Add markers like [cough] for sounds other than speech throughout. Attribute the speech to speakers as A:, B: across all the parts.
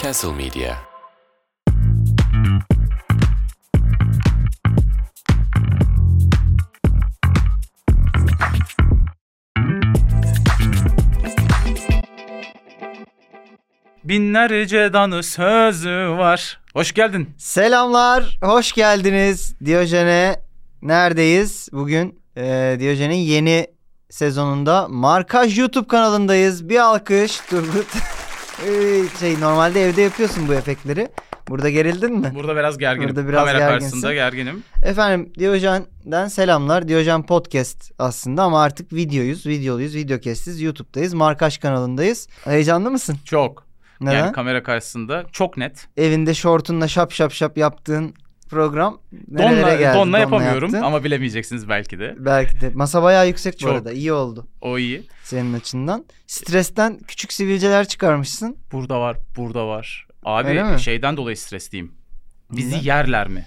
A: Castle Media.
B: Binlerce danı sözü var. Hoş geldin.
C: Selamlar, hoş geldiniz. Diyojen'e neredeyiz bugün? Ee, Diyojen'in yeni sezonunda Markaj YouTube kanalındayız. Bir alkış [laughs] Turgut. Ee, şey normalde evde yapıyorsun bu efektleri. Burada gerildin mi?
B: Burada biraz gerginim.
C: Burada biraz
B: Kamera
C: gerginsin.
B: karşısında gerginim.
C: Efendim Diyojen'den selamlar. Diyojen Podcast aslında ama artık videoyuz, videoluyuz, videokestiz. YouTube'dayız, Markaj kanalındayız. Heyecanlı mısın?
B: Çok.
C: Neden?
B: Yani kamera karşısında çok net.
C: Evinde şortunla şap şap şap yaptığın program nerelere
B: Donla,
C: geldi?
B: donla yapamıyorum
C: yaptın.
B: ama bilemeyeceksiniz belki de.
C: Belki de. Masa bayağı yüksek
B: Çok.
C: bu arada. İyi oldu
B: O iyi.
C: senin açından. Stresten küçük sivilceler çıkarmışsın.
B: Burada var, burada var. Abi
C: Öyle mi?
B: şeyden dolayı stresliyim. Bizi
C: Neden?
B: yerler mi?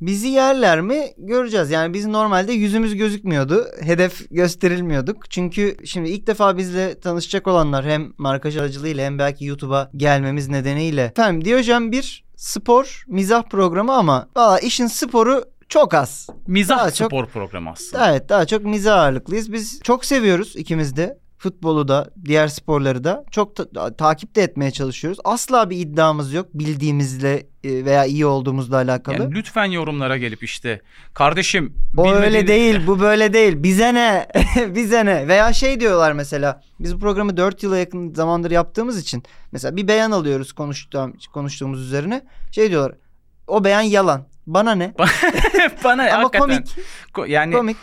C: Bizi yerler mi göreceğiz. Yani biz normalde yüzümüz gözükmüyordu. Hedef gösterilmiyorduk. Çünkü şimdi ilk defa bizle tanışacak olanlar hem markaj aracılığıyla hem belki YouTube'a gelmemiz nedeniyle. Efendim Diyojen bir spor mizah programı ama valla işin sporu çok az.
B: Mizah
C: Daha çok-
B: spor programı aslında.
C: Evet daha çok mizah ağırlıklıyız. Biz çok seviyoruz ikimiz de. Futbolu da diğer sporları da çok ta- takip de etmeye çalışıyoruz. Asla bir iddiamız yok bildiğimizle e, veya iyi olduğumuzla alakalı.
B: Yani lütfen yorumlara gelip işte kardeşim
C: o
B: bilmediğin-
C: öyle değil bu böyle değil bize ne [laughs] bize ne veya şey diyorlar mesela biz bu programı 4 yıla yakın zamandır yaptığımız için mesela bir beyan alıyoruz konuştuğum, konuştuğumuz üzerine şey diyorlar o beyan yalan bana ne
B: [laughs] Bana
C: ama
B: hakikaten- Hani
C: komik
B: Ko- Yani
C: komik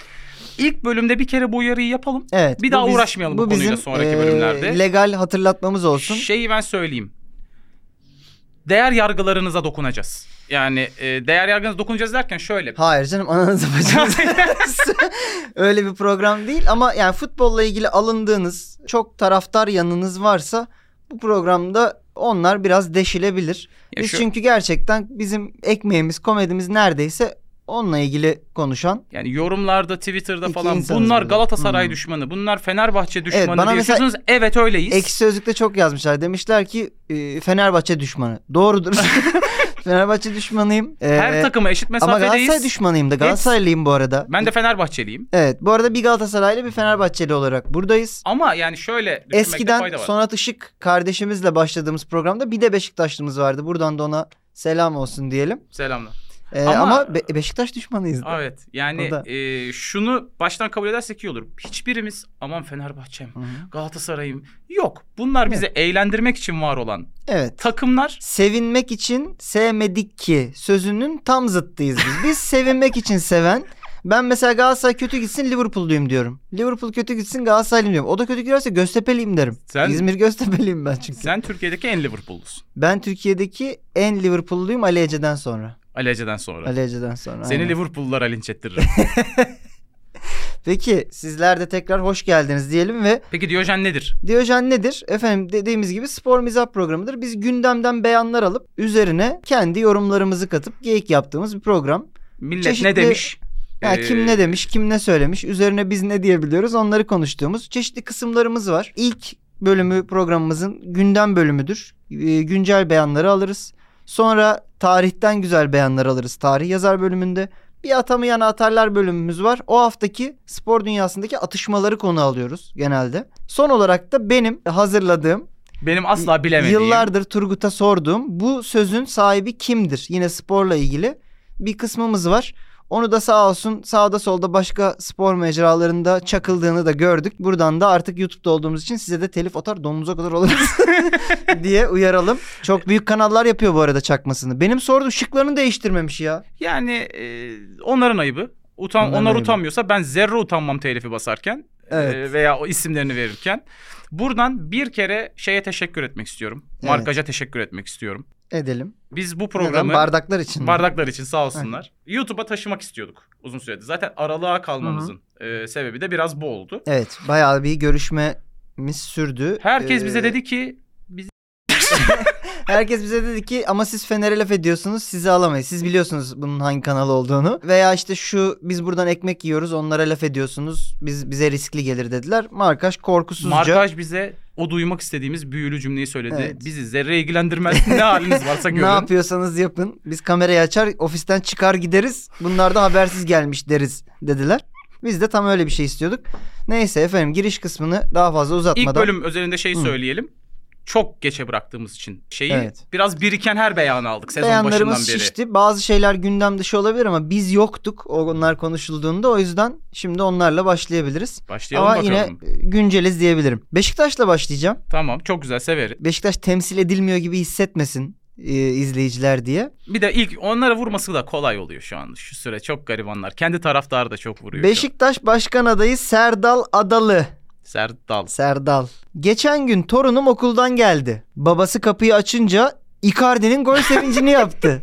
B: ilk bölümde bir kere bu uyarıyı yapalım.
C: evet
B: Bir
C: bu
B: daha uğraşmayalım bu konuyla sonraki bölümlerde.
C: legal hatırlatmamız olsun
B: Şeyi ben söyleyeyim. Değer yargılarınıza dokunacağız. Yani e, değer yargınıza dokunacağız derken şöyle.
C: Hayır canım ananızı
B: [laughs]
C: bacınızı. Öyle bir program değil ama yani futbolla ilgili alındığınız çok taraftar yanınız varsa bu programda onlar biraz deşilebilir.
B: Ya
C: Biz
B: şu-
C: çünkü gerçekten bizim ekmeğimiz, komedimiz neredeyse onunla ilgili konuşan.
B: Yani yorumlarda, Twitter'da
C: İki
B: falan
C: insanız
B: bunlar
C: burada.
B: Galatasaray
C: Hmm.
B: düşmanı, bunlar Fenerbahçe düşmanı
C: bana
B: diye
C: mesela-
B: düşünüyorsunuz. Evet öyleyiz.
C: Ekşi Sözlük'te çok yazmışlar. Demişler ki e, Fenerbahçe düşmanı.
B: [laughs]
C: Doğrudur. Fenerbahçe düşmanıyım. Ee,
B: Her takıma eşit
C: ama
B: mesafedeyiz.
C: Galatasaray düşmanıyım da. Galatasaraylıyım bu arada.
B: ben de Fenerbahçeliyim.
C: Evet. Bu arada bir Galatasaraylı bir Fenerbahçeli olarak buradayız.
B: Ama yani şöyle düşünmekte
C: Eskiden
B: fayda var.
C: Sonat Işık kardeşimizle başladığımız programda bir de Beşiktaşlımız vardı. Buradan da ona selam olsun diyelim.
B: Selamlar.
C: Ee,
B: Ama-
C: ama Be- Beşiktaş düşmanıyız. da.
B: Evet yani
C: O da-
B: e, şunu baştan kabul edersek iyi olur. Hiçbirimiz aman Fenerbahçe'm,
C: Hı hı.
B: Galatasaray'ım yok. Bunlar bizi eğlendirmek için var olan
C: Evet.
B: takımlar
C: Sevinmek için sevmedik ki sözünün tam zıttıyız biz. Biz sevinmek için seven. Ben mesela Galatasaray kötü gitsin Liverpool'luyum diyorum. Liverpool kötü gitsin Galatasaraylıyım diyorum. O da kötü giderse Göztepe'liyim derim.
B: Sen-
C: İzmir Göztepe'liyim ben çünkü.
B: Sen Türkiye'deki en Liverpool'lusun.
C: Ben Türkiye'deki en Liverpool'luyum Ali Ece'den sonra.
B: Ali Ece'den sonra.
C: Ali Ece'den sonra.
B: Seni
C: aynen.
B: Liverpool'lara linç
C: [laughs]
B: ettiririm.
C: Peki sizler de tekrar hoş geldiniz diyelim ve
B: Peki Diyojen nedir?
C: Diyojen nedir? Efendim dediğimiz gibi spor mizah programıdır. Biz gündemden beyanlar alıp üzerine kendi yorumlarımızı katıp geyik yaptığımız bir program.
B: Millet ne
C: Çeşitli-
B: demiş?
C: Ya
B: Ee,
C: kim ne demiş, kim ne söylemiş, üzerine biz ne diyebiliyoruz onları konuştuğumuz çeşitli kısımlarımız var. İlk bölümü programımızın gündem bölümüdür. Ee, güncel beyanları alırız. Sonra tarihten güzel beyanlar alırız tarih yazar bölümünde. Bir atamayan atarlar bölümümüz var. O haftaki spor dünyasındaki atışmaları konu alıyoruz genelde. Son olarak da benim hazırladığım
B: Benim asla bilemediğim.
C: Yıllardır Turgut'a sorduğum bu sözün sahibi kimdir? Yine sporla ilgili bir kısmımız var. Onu da sağ olsun sağda solda başka spor mecralarında çakıldığını da gördük. Buradan da artık YouTube'da olduğumuz için size de telif atar donunuza kadar oluruz [laughs]
B: [laughs]
C: diye uyaralım. Çok büyük kanallar yapıyor bu arada çakmasını. Benim sorduğum şıklarını değiştirmemiş ya.
B: Yani e, onların ayıbı. Utan,
C: Onların
B: onlar
C: ayıbı.
B: utanmıyorsa ben zerre utanmam telifi basarken e,
C: Evet.
B: veya o isimlerini verirken. Buradan bir kere şeye teşekkür etmek istiyorum.
C: Evet.
B: Markaja teşekkür etmek istiyorum.
C: Edelim.
B: Biz bu
C: Neden?
B: Ee, programı
C: Bardaklar için. mi?
B: Bardaklar için sağ olsunlar. YouTube'a taşımak istiyorduk uzun süredir. Zaten aralığa kalmamızın e, sebebi de biraz bu oldu.
C: Evet bayağı bir görüşmemiz sürdü.
B: Herkes
C: Ee,
B: bize dedi ki
C: Herkes bize dedi ki ama siz Fener'e laf ediyorsunuz sizi alamayız. Siz biliyorsunuz bunun hangi kanal olduğunu. Veya işte şu biz buradan ekmek yiyoruz onlara laf ediyorsunuz. Biz bize riskli gelir dediler. Markaş korkusuzca.
B: Markaj bize o duymak istediğimiz büyülü cümleyi söyledi.
C: Evet.
B: Bizi zerre
C: [laughs]
B: ilgilendirmez. ne haliniz varsa
C: ne
B: görün.
C: yapıyorsanız yapın. Biz kamerayı açar ofisten çıkar gideriz. Bunlar da habersiz gelmiş deriz dediler. Biz de tam öyle bir şey istiyorduk. Neyse efendim giriş kısmını daha fazla uzatmadan.
B: İlk bölüm özelinde şeyi
C: Hı.
B: söyleyelim. Çok geçe bıraktığımız için şeyi
C: Evet.
B: biraz biriken her beyanı aldık sezon başından
C: Beyanlarımız
B: beri.
C: şişti. Bazı şeyler gündem dışı olabilir ama biz yoktuk onlar konuşulduğunda. O yüzden şimdi onlarla başlayabiliriz.
B: Başlayalım
C: ama
B: bakalım.
C: yine e, günceliz diyebilirim. Beşiktaş'la başlayacağım.
B: Tamam çok güzel severiz.
C: Beşiktaş temsil edilmiyor gibi hissetmesin e, izleyiciler diye.
B: Bir de ilk onlara vurması da kolay oluyor şu an. Şu süre çok garibanlar. Kendi taraftarı da çok vuruyor. şu an.
C: Beşiktaş Başkan Adayı Serdal Adalı.
B: Serdal.
C: Serdal. Geçen gün torunum okuldan geldi. Babası kapıyı açınca Icardi'nin gol sevincini yaptı.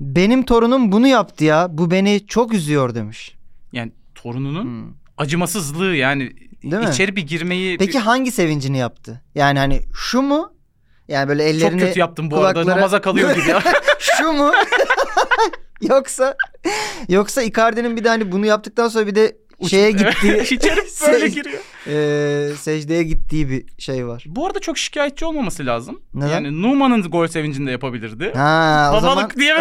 C: Benim torunum bunu yaptı ya. Bu beni çok üzüyor demiş.
B: Yani torununun
C: Hmm.
B: acımasızlığı yani
C: Değil mi?
B: içeri bir girmeyi
C: Peki
B: bir-
C: hangi sevincini yaptı? Yani hani şu mu? Yani böyle
B: çok
C: ellerini
B: kötü yaptım bu arada
C: kulaklara-
B: namaza kalıyor
C: [laughs]
B: gibi ya.
C: şu mu? yoksa yoksa Icardi'nin bir de hani bunu yaptıktan sonra bir de
B: [laughs]
C: şeye gittiği [laughs]
B: içeri böyle
C: Şey-
B: giriyor.
C: eee, secdeye gittiği bir şey var.
B: Bu arada çok şikayetçi olmaması lazım.
C: Neden?
B: Yani Numan'ın gol sevincini de yapabilirdi.
C: Ha, o
B: Babalık
C: zaman
B: diye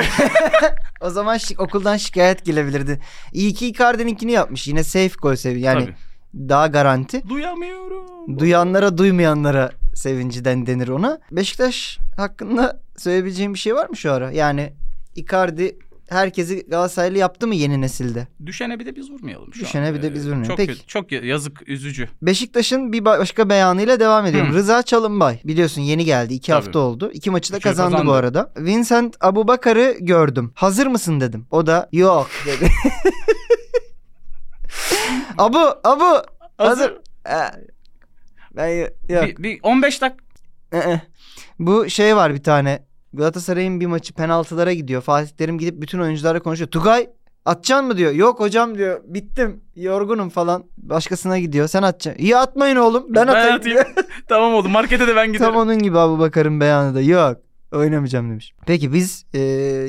C: o zaman şi- okuldan şikayet gelebilirdi. İyi ki Icardi'ninkini yapmış. Yine safe gol sevinci. Yani
B: Tabii.
C: daha garanti.
B: Duyamıyorum.
C: Duyanlara duymayanlara sevinciden denir ona. Beşiktaş hakkında söyleyebileceğim bir şey var mı şu ara? Yani Icardi herkesi Galatasaraylı yaptı mı yeni nesilde?
B: Düşene bir de biz vurmayalım şu
C: Düşene
B: an.
C: bir de biz
B: Ee,
C: vurmayalım.
B: Çok,
C: Peki.
B: kötü, çok ya- yazık, üzücü.
C: Beşiktaş'ın bir ba- başka beyanıyla devam ediyorum.
B: Hı.
C: Rıza Çalınbay biliyorsun yeni geldi. iki
B: Tabii.
C: hafta oldu. İki maçı da
B: İki maçı
C: kazandı, bu
B: kazandı.
C: arada. Vincent Abubakar'ı gördüm. Hazır mısın dedim. O da yok [laughs] dedi. abu, abu. Hazır. Ee, Ben y- yok.
B: Bir, bir 15 dak [laughs]
C: Ee. Bu şey var bir tane. Galatasaray'ın bir maçı penaltılara gidiyor. Fatih Terim gidip bütün oyuncularla konuşuyor. Tugay atacaksın mı diyor. Yok hocam diyor. Bittim. Yorgunum falan. Başkasına gidiyor. Sen atacaksın. İyi atmayın oğlum. Ben,
B: Ben
C: atayım.
B: atayım. tamam oldu. Markete de ben giderim.
C: Tam onun gibi Abu Bakar'ın beyanı da yok oynamayacağım demiş. Peki biz e,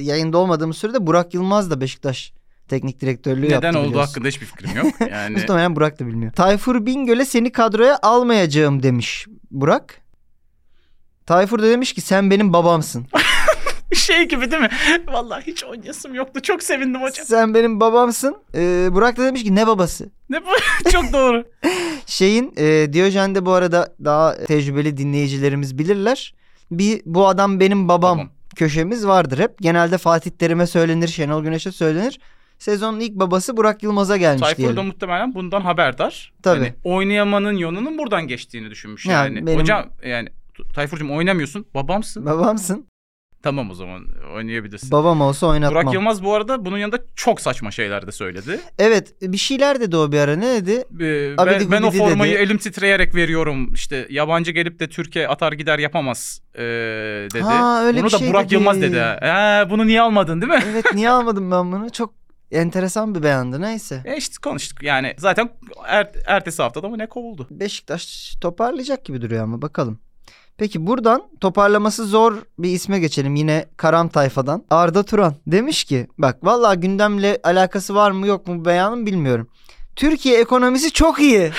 C: yayında olmadığımız sürede Burak Yılmaz da Beşiktaş teknik direktörlüğü yaptı
B: Neden oldu
C: biliyorsun.
B: hakkında hiçbir fikrim yok.
C: [laughs]
B: Yani
C: Muhtemelen Burak da bilmiyor. Tayfur Bingöl'e seni kadroya almayacağım demiş Burak. Tayfur da demiş ki sen benim babamsın.
B: [laughs] şey gibi değil mi? Vallahi hiç oynayasım yoktu. Çok sevindim hocam.
C: sen benim babamsın. E, Burak da demiş ki ne babası?
B: Ne bu? [laughs] Çok doğru.
C: Şeyin e, Diyojen de bu arada daha tecrübeli dinleyicilerimiz bilirler. Bir bu adam benim babam
B: Babam.
C: köşemiz vardır hep. Genelde Fatih Terim'e söylenir, Şenol Güneş'e söylenir. Sezonun ilk babası Burak Yılmaz'a gelmiş
B: Tayfur da
C: diyelim.
B: muhtemelen bundan haberdar.
C: Tabii.
B: Hani oynayamanın yolunun buradan geçtiğini düşünmüş
C: Ya
B: yani.
C: benim-
B: Hocam yani Tayfur'cum oynamıyorsun. Babamsın.
C: Babamsın.
B: Tamam o zaman oynayabilirsin.
C: Babam olsa oynatmam.
B: Burak Yılmaz bu arada bunun yanında çok saçma şeyler de söyledi.
C: Evet bir şeyler dedi o bir ara ne dedi?
B: Ee,
C: Abidi
B: ben, ben o
C: gubidi
B: formayı
C: dedi.
B: elim titreyerek veriyorum. İşte yabancı gelip de Türkiye atar gider yapamaz ee, dedi.
C: Ha, öyle
B: bunu
C: bir
B: da
C: şey
B: Burak
C: dedi.
B: Yılmaz dedi. ha. Ee, bunu niye almadın değil mi? [laughs]
C: Evet niye almadım ben bunu? Çok enteresan bir beyandı neyse.
B: E işte konuştuk yani. Zaten er, ertesi haftada mı ne kovuldu?
C: Beşiktaş toparlayacak gibi duruyor ama bakalım. Peki buradan toparlaması zor bir isme geçelim yine Karam Tayfa'dan. Arda Turan demiş ki bak vallahi gündemle alakası var mı yok mu bu beyanım bilmiyorum. Türkiye ekonomisi çok iyi.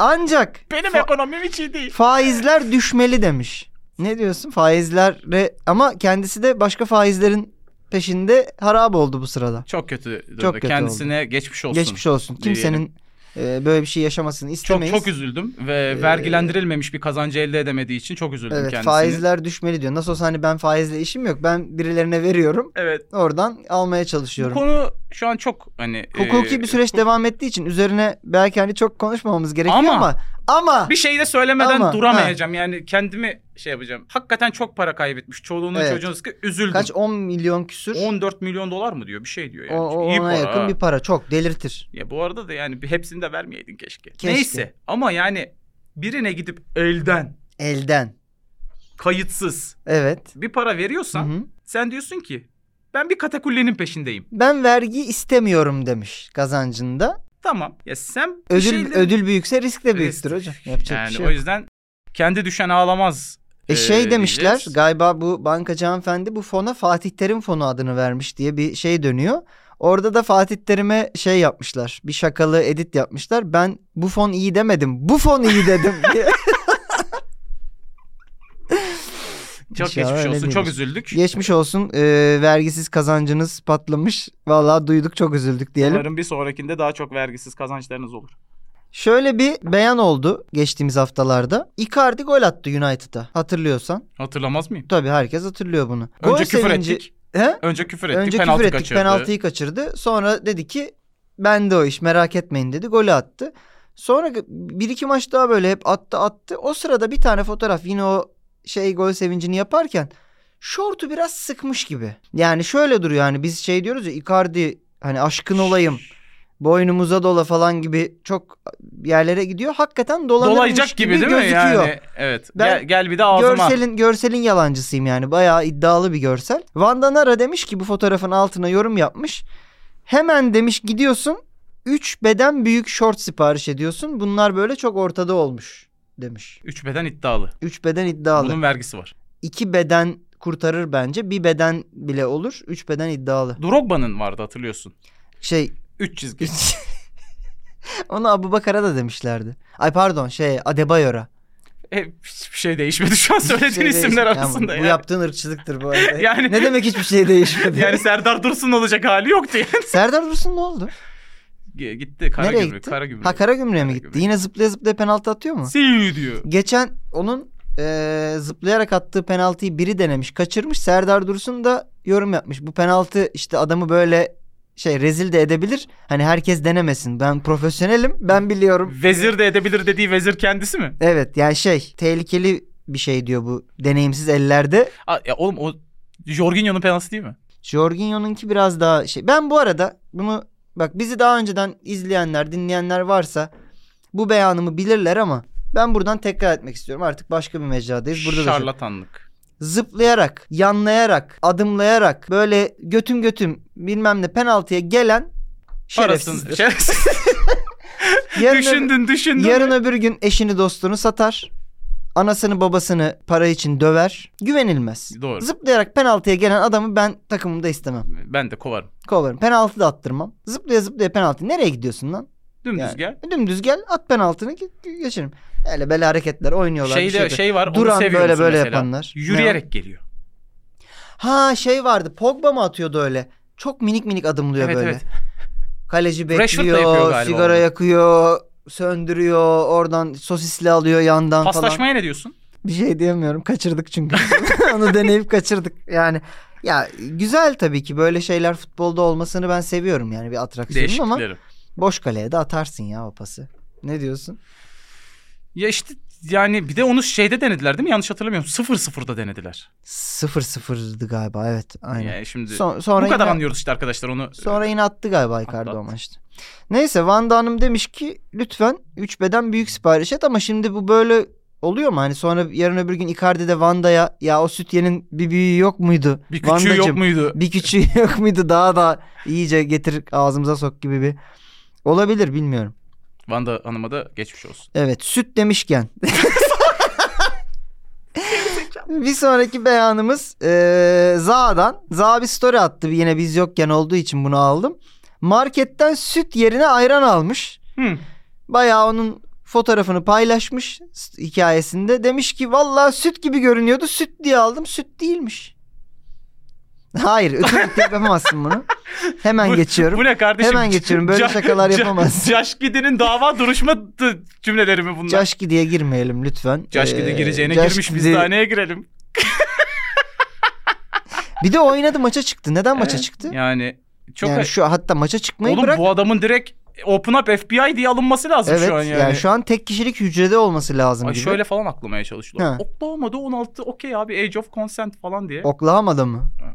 C: Ancak
B: Benim
C: Fa-
B: ekonomim hiç iyi değil.
C: faizler düşmeli demiş. Ne diyorsun faizlere ama kendisi de başka faizlerin peşinde harap oldu bu sırada.
B: Çok kötü. durumda.
C: Çok kötü
B: Kendisine geçmiş olsun.
C: Geçmiş olsun. Kimsenin e, böyle bir şey yaşamasını
B: çok
C: istemeyiz.
B: çok üzüldüm ve
C: Ee,
B: vergilendirilmemiş bir kazancı elde edemediği için çok üzüldüm
C: Evet
B: kendisine.
C: faizler düşmeli diyor. Nasıl olsa hani ben faizle işim yok. Ben birilerine veriyorum.
B: Evet.
C: Oradan almaya
B: Bu
C: çalışıyorum.
B: konu şu an çok hani
C: Hukuki
B: ee,
C: bir süreç devam ettiği için üzerine belki hani çok konuşmamamız gerekiyor ama
B: Ama-
C: ama,
B: Bir şey de söylemeden
C: Ama,
B: duramayacağım. Yani kendimi şey yapacağım. Hakikaten çok para kaybetmiş. Çoluğunun
C: Evet.
B: çocuğunun sıkı üzüldüm.
C: kaç 10 milyon küsür
B: 14 milyon dolar mı diyor bir şey diyor yani.
C: o, o-
B: İyi
C: ona
B: para
C: yakın
B: ha.
C: bir para çok delirtir.
B: Ya bu arada da yani bir hepsini de vermeyeydin keşke.
C: Keşke.
B: Neyse ama yani birine gidip elden
C: Elden.
B: kayıtsız
C: Evet.
B: bir para veriyorsan
C: Hı hı.
B: sen diyorsun ki ben bir katakullenin peşindeyim.
C: Ben vergi istemiyorum demiş kazancında.
B: Tamam. Ya sen bir
C: Ödül
B: şeyle-
C: ödül büyükse risk de büyüktür
B: Risk.
C: hocam. Yapacak
B: yani
C: bir şey
B: o
C: yok.
B: yüzden kendi düşen ağlamaz
C: E şey
B: e,
C: demişler
B: diyeceğiz.
C: galiba bu bankacı hanımefendi bu fona Fatih Terim fonu adını vermiş diye bir şey dönüyor. Orada da Fatih Terim'e şey yapmışlar. Bir şakalı edit yapmışlar. Ben bu fon iyi demedim. Bu fon iyi dedim
B: [laughs]
C: diye.
B: Çok
C: İnşallah
B: geçmiş
C: öyle
B: olsun. Çok
C: değildir.
B: üzüldük.
C: Geçmiş olsun. e, vergisiz kazancınız patlamış. Vallahi duyduk çok üzüldük diyelim.
B: Umarım bir sonrakinde daha çok vergisiz kazançlarınız olur.
C: Şöyle bir beyan oldu geçtiğimiz haftalarda. Icardi gol attı United'a. Hatırlıyorsan.
B: Hatırlamaz mıyım?
C: Tabii herkes hatırlıyor bunu.
B: Önce küfür
C: sevinci-
B: ettik.
C: He?
B: Önce küfür ettik.
C: Önce
B: penaltı
C: küfür ettik
B: kaçırdı.
C: penaltıyı kaçırdı. Sonra dedi ki ben de o iş merak etmeyin dedi golü attı. Sonra bir iki maç daha böyle hep attı attı. O sırada bir tane fotoğraf yine o şey gol sevincini yaparken şortu biraz sıkmış gibi. Yani şöyle duruyor yani biz şey diyoruz ya Icardi hani aşkın olayım boynumuza dola falan gibi çok yerlere gidiyor. Hakikaten dolanırmış
B: Dolayacak gibi, değil mi?
C: gözüküyor.
B: Yani evet.
C: Ben
B: gel, gel bir de ağzıma.
C: Görselin görselin yalancısıyım yani. Bayağı iddialı bir görsel. Vanda Nara demiş ki bu fotoğrafın altına yorum yapmış. Hemen demiş gidiyorsun 3 beden büyük şort sipariş ediyorsun. Bunlar böyle çok ortada olmuş demiş.
B: Üç beden iddialı.
C: 3 beden iddialı.
B: Bunun vergisi var.
C: 2 beden kurtarır bence. Bir beden bile olur. 3 beden iddialı.
B: Drogba'nın vardı hatırlıyorsun. [laughs]
C: Şey
B: Üç çizgi.
C: ona Abubakar'a da demişlerdi. Ay pardon şey Adebayor'a.
B: E, hiçbir şey değişmedi şu an söylediğin
C: Hiçbir şey
B: isimler
C: değişmedi.
B: arasında.
C: Yani bu
B: yani.
C: yaptığın ırkçılıktır bu
B: [laughs]
C: arada.
B: Yani-
C: Ne demek hiçbir şey değişmedi?
B: yani Serdar Dursun olacak hali yoktu yani.
C: Serdar Dursun ne oldu?
B: G- gitti kara
C: Nereye
B: gümrük,
C: gitti?
B: kara gümrük.
C: Ha Karagümrük'e mi gitti?
B: Karagümrük.
C: Yine zıplaya zıplaya penaltı atıyor mu?
B: Siu diyor.
C: Geçen onun e, zıplayarak attığı penaltıyı biri denemiş, kaçırmış. Serdar Dursun da yorum yapmış. Bu penaltı işte adamı böyle şey rezil de edebilir. Hani herkes denemesin. Ben profesyonelim, ben biliyorum.
B: Vezir de edebilir dediği vezir kendisi mi?
C: Evet yani şey tehlikeli bir şey diyor bu deneyimsiz ellerde.
B: Aa, ya oğlum o Jorginho'nun penaltısı değil mi?
C: Jorginho'nunki biraz daha şey. Ben bu arada bunu bak bizi daha önceden izleyenler, dinleyenler varsa bu beyanımı bilirler ama ben buradan tekrar etmek istiyorum. Artık başka bir mecradayız. Burada da şey-
B: Şarlatanlık.
C: zıplayarak, yanlayarak, adımlayarak böyle götüm götüm bilmem ne penaltıya gelen
B: Parasını.
C: [laughs]
B: şey,
C: şerefsizdir.
B: Şerefsiz.
C: Yarın, öbür,
B: düşündün düşündün.
C: yarın öbür gün eşini dostunu satar. Anasını babasını para için döver. Güvenilmez.
B: Doğru.
C: Zıplayarak penaltıya gelen adamı ben takımımda istemem.
B: Ben de kovarım.
C: Kovarım. Penaltı da attırmam. Zıplaya zıplaya penaltı. Nereye gidiyorsun lan?
B: Dümdüz
C: Yani.
B: gel.
C: Dümdüz gel at penaltını ge- geçerim. Öyle böyle hareketler oynuyorlar. bir
B: Şeyde
C: şey
B: şey var. onu
C: Duran
B: seviyor
C: böyle
B: musun
C: böyle
B: mesela?
C: yapanlar.
B: Yürüyerek geliyor.
C: Ha şey vardı Pogba mı atıyordu öyle? Çok minik minik adımlıyor
B: Evet,
C: böyle.
B: evet.
C: Kaleci
B: Rashford da
C: bekliyor,
B: yapıyor galiba
C: sigara
B: onu.
C: yakıyor, söndürüyor, oradan sosisli alıyor yandan falan.
B: Paslaşmaya ne diyorsun?
C: Bir şey diyemiyorum. Kaçırdık çünkü. [laughs] Onu deneyip kaçırdık. Yani ya güzel tabii ki böyle şeyler futbolda olmasını ben seviyorum yani bir atraksiyonum ama
B: Değişiklikleri.
C: boş kaleye de atarsın ya o pası. Ne diyorsun?
B: Ya işte yani bir de onu şeyde denediler değil mi? Yanlış hatırlamıyorum. 0-0'da denediler.
C: 0-0'dı galiba evet aynen.
B: Yani şimdi
C: Son- sonra
B: bu kadar
C: yine-
B: anlıyoruz işte arkadaşlar onu.
C: Sonra yine attı galiba Icardi
B: Attı,
C: o
B: attı.
C: maçta. Neyse Vanda Hanım demiş ki lütfen 3 beden büyük sipariş et ama şimdi bu böyle oluyor mu? Hani sonra yarın öbür gün Icardi'de Vanda'ya ya o sütyenin bir büyüğü yok muydu?
B: Bir küçüğü
C: Vandacım,
B: yok muydu?
C: Bir küçüğü [laughs] yok muydu? Daha da iyice getir ağzımıza sok gibi bir. Olabilir bilmiyorum.
B: Vanda Hanım'a da geçmiş olsun.
C: Evet
B: [laughs]
C: süt demişken. [laughs] bir sonraki beyanımız eee Za'dan. Za bir story attı yine biz yokken olduğu için bunu aldım. Marketten süt yerine ayran almış.
B: Hı.
C: Bayağı onun fotoğrafını paylaşmış s- hikayesinde. Demiş ki vallahi süt gibi görünüyordu süt diye aldım süt değilmiş. [laughs] Hayır ütülük yapamazsın bunu. Hemen
B: Bu- [laughs]
C: geçiyorum.
B: Bu ne kardeşim?
C: Hemen
B: [laughs]
C: geçiyorum, böyle şakalar yapamazsın.
B: Caşkidi'nin dava duruşma t- cümleleri mi bunlar?
C: Caşki diye girmeyelim lütfen.
B: Caşkidi
C: Ee,
B: gireceğine girmiş biz
C: Caşkidi-
B: daha neye girelim?
C: Bir de oynadı maça çıktı. Neden maça
B: Evet,
C: çıktı?
B: Yani çok
C: yani şu hatta maça çıkmayı
B: Oğlum
C: bırak.
B: bu adamın direkt open up FBI diye alınması lazım
C: evet,
B: şu an yani.
C: şu an tek kişilik hücrede olması lazım
B: Ay
C: gibi.
B: şöyle falan aklamaya çalıştılar.
C: Ha.
B: Oklahoma'da 16 okey abi Age of Consent falan diye.
C: Oklahoma'da mı?
B: Ha.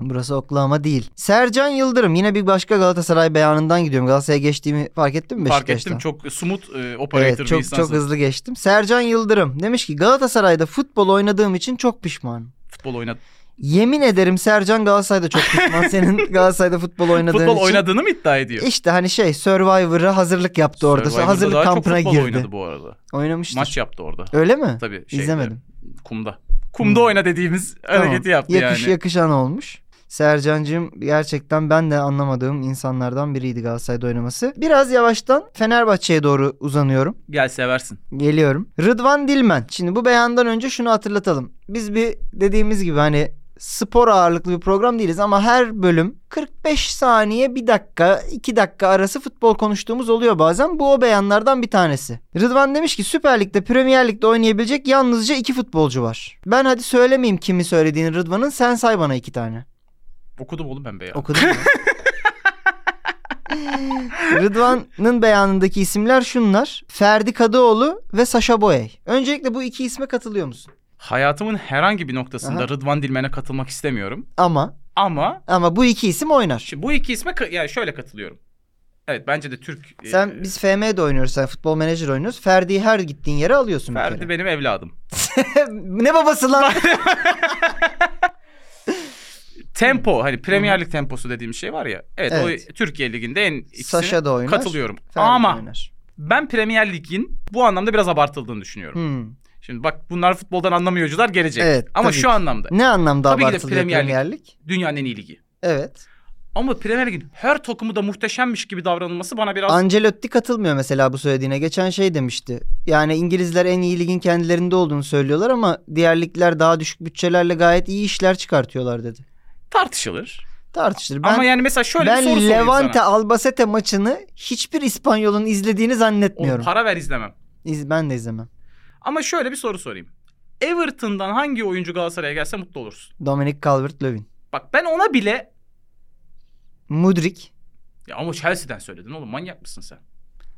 C: Burası Oklahoma değil. Sercan Yıldırım yine bir başka Galatasaray beyanından gidiyorum. Galatasaray'a geçtiğimi fark ettin mi
B: Fark ettim
C: Beşiktaş'tan?
B: çok smooth e, operator
C: Evet
B: bir
C: çok
B: insansın.
C: çok hızlı geçtim. Sercan Yıldırım demiş ki Galatasaray'da futbol oynadığım için çok pişmanım.
B: Futbol oynadı.
C: Yemin ederim Sercan Galatasaray'da
B: [laughs]
C: çok pişman. Senin Galatasaray'da futbol oynadığın
B: Futbol
C: için.
B: oynadığını mı iddia ediyor?
C: İşte hani şey Survivor'a hazırlık yaptı orada.
B: Survivor'da
C: hazırlık
B: daha çok
C: kampına
B: futbol
C: girdi.
B: oynadı bu arada.
C: Oynamıştır.
B: Maç yaptı orada.
C: Öyle mi?
B: Tabii şeyde,
C: İzlemedim. Hmm.
B: Kumda. kumda oyna dediğimiz hareketi yaptı
C: Yakış
B: yani.
C: yakışan olmuş. Sercan'cığım gerçekten ben de anlamadığım insanlardan biriydi Galatasaray'da oynaması. Biraz yavaştan Fenerbahçe'ye doğru uzanıyorum.
B: Gel seversin.
C: Geliyorum. Rıdvan Dilmen. Şimdi bu beyandan önce şunu hatırlatalım. Biz bir dediğimiz gibi hani spor ağırlıklı bir program değiliz ama her bölüm 45 saniye 1 dakika 2 dakika arası futbol konuştuğumuz oluyor bazen. Bu o beyanlardan bir tanesi. Rıdvan demiş ki Süper Lig'de Premier Lig'de oynayabilecek yalnızca 2 futbolcu var. Ben hadi söylemeyeyim kimi söylediğini Rıdvan'ın sen say bana 2 tane.
B: Okudum oğlum ben be ya.
C: Okudun mu? [laughs] Rıdvan'ın beyanındaki isimler şunlar. Ferdi Kadıoğlu ve Saşa Boey. Öncelikle bu iki isme katılıyor musun?
B: Hayatımın herhangi bir noktasında
C: Aha.
B: Rıdvan Dilmen'e katılmak istemiyorum.
C: Ama
B: Ama
C: ama bu iki isim oynar.
B: şu, bu iki isme ka- yani şöyle katılıyorum. Evet bence de Türk. e,
C: Sen biz FM'de oynuyoruz. Sen futbol menajer oynuyoruz. Ferdi'yi her gittiğin yere alıyorsun bir [laughs]
B: Ferdi
C: kere.
B: benim evladım.
C: ne babası lan?
B: Tempo hani Premier Lig temposu dediğim şey var ya. Evet,
C: Evet.
B: o Türkiye Ligi'nde en ikisine
C: [laughs] Saşa da oynar.
B: katılıyorum.
C: Ferdi de
B: Ama
C: oynar.
B: ben Premier Lig'in bu anlamda biraz abartıldığını düşünüyorum.
C: Hmm.
B: Şimdi bak bunlar futboldan anlamıyorcular gelecek.
C: Evet,
B: Ama
C: tabii
B: şu
C: ki.
B: anlamda
C: Ne anlamda
B: Tabii ki de
C: abartılıyor
B: Premier Lig.
C: Premier Lig?
B: dünyanın en iyi ligi.
C: Evet.
B: Ama Premier Lig'in her takımı da muhteşemmiş gibi davranılması bana biraz
C: Ancelotti katılmıyor mesela bu söylediğine. Geçen şey demişti. Yani İngilizler en iyi ligin kendilerinde olduğunu söylüyorlar ama diğer ligler daha düşük bütçelerle gayet iyi işler çıkartıyorlar dedi.
B: tartışılır.
C: Tartışılır. Ben,
B: Ama yani mesela şöyle bir soru
C: ben
B: sorayım
C: Levante
B: sana.
C: Albacete maçını hiçbir İspanyol'un izlediğini
B: Oğlum,
C: zannetmiyorum.
B: para ver izlemem.
C: İz- ben de izlemem.
B: Ama şöyle bir soru sorayım. Everton'dan hangi oyuncu Galatasaray'a gelse mutlu olursun?
C: Dominic Calvert-Lewin.
B: Bak ben ona bile
C: Mudrik.
B: ya ama Chelsea'den söyledin oğlum manyak mısın sen?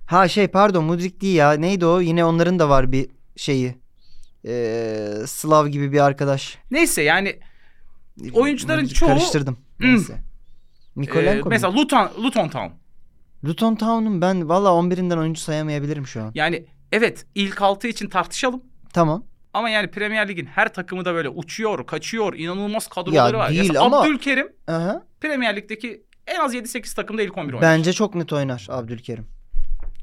C: Ha şey pardon Mudrik değil ya. Neydi o? Yine onların da var bir şeyi. Ee, Slav gibi bir arkadaş.
B: Neyse yani Oyuncuların
C: Mudrik,
B: çoğu-
C: Karıştırdım.
B: Hmm.
C: Neyse.
B: e,
C: Mikolenko mu?
B: mesela Luton Luton Town.
C: Luton Town'un ben valla 11'inden oyuncu sayamayabilirim şu an.
B: Yani evet ilk altı için tartışalım.
C: Tamam.
B: Ama yani Premier Lig'in her takımı da böyle uçuyor, kaçıyor, inanılmaz kadroları var.
C: değil
B: Mesela
C: ama-
B: Abdülkerim
C: Aha.
B: Premier Lig'deki en az 7-8 takımda ilk 11 oynar.
C: Bence çok net oynar Abdülkerim.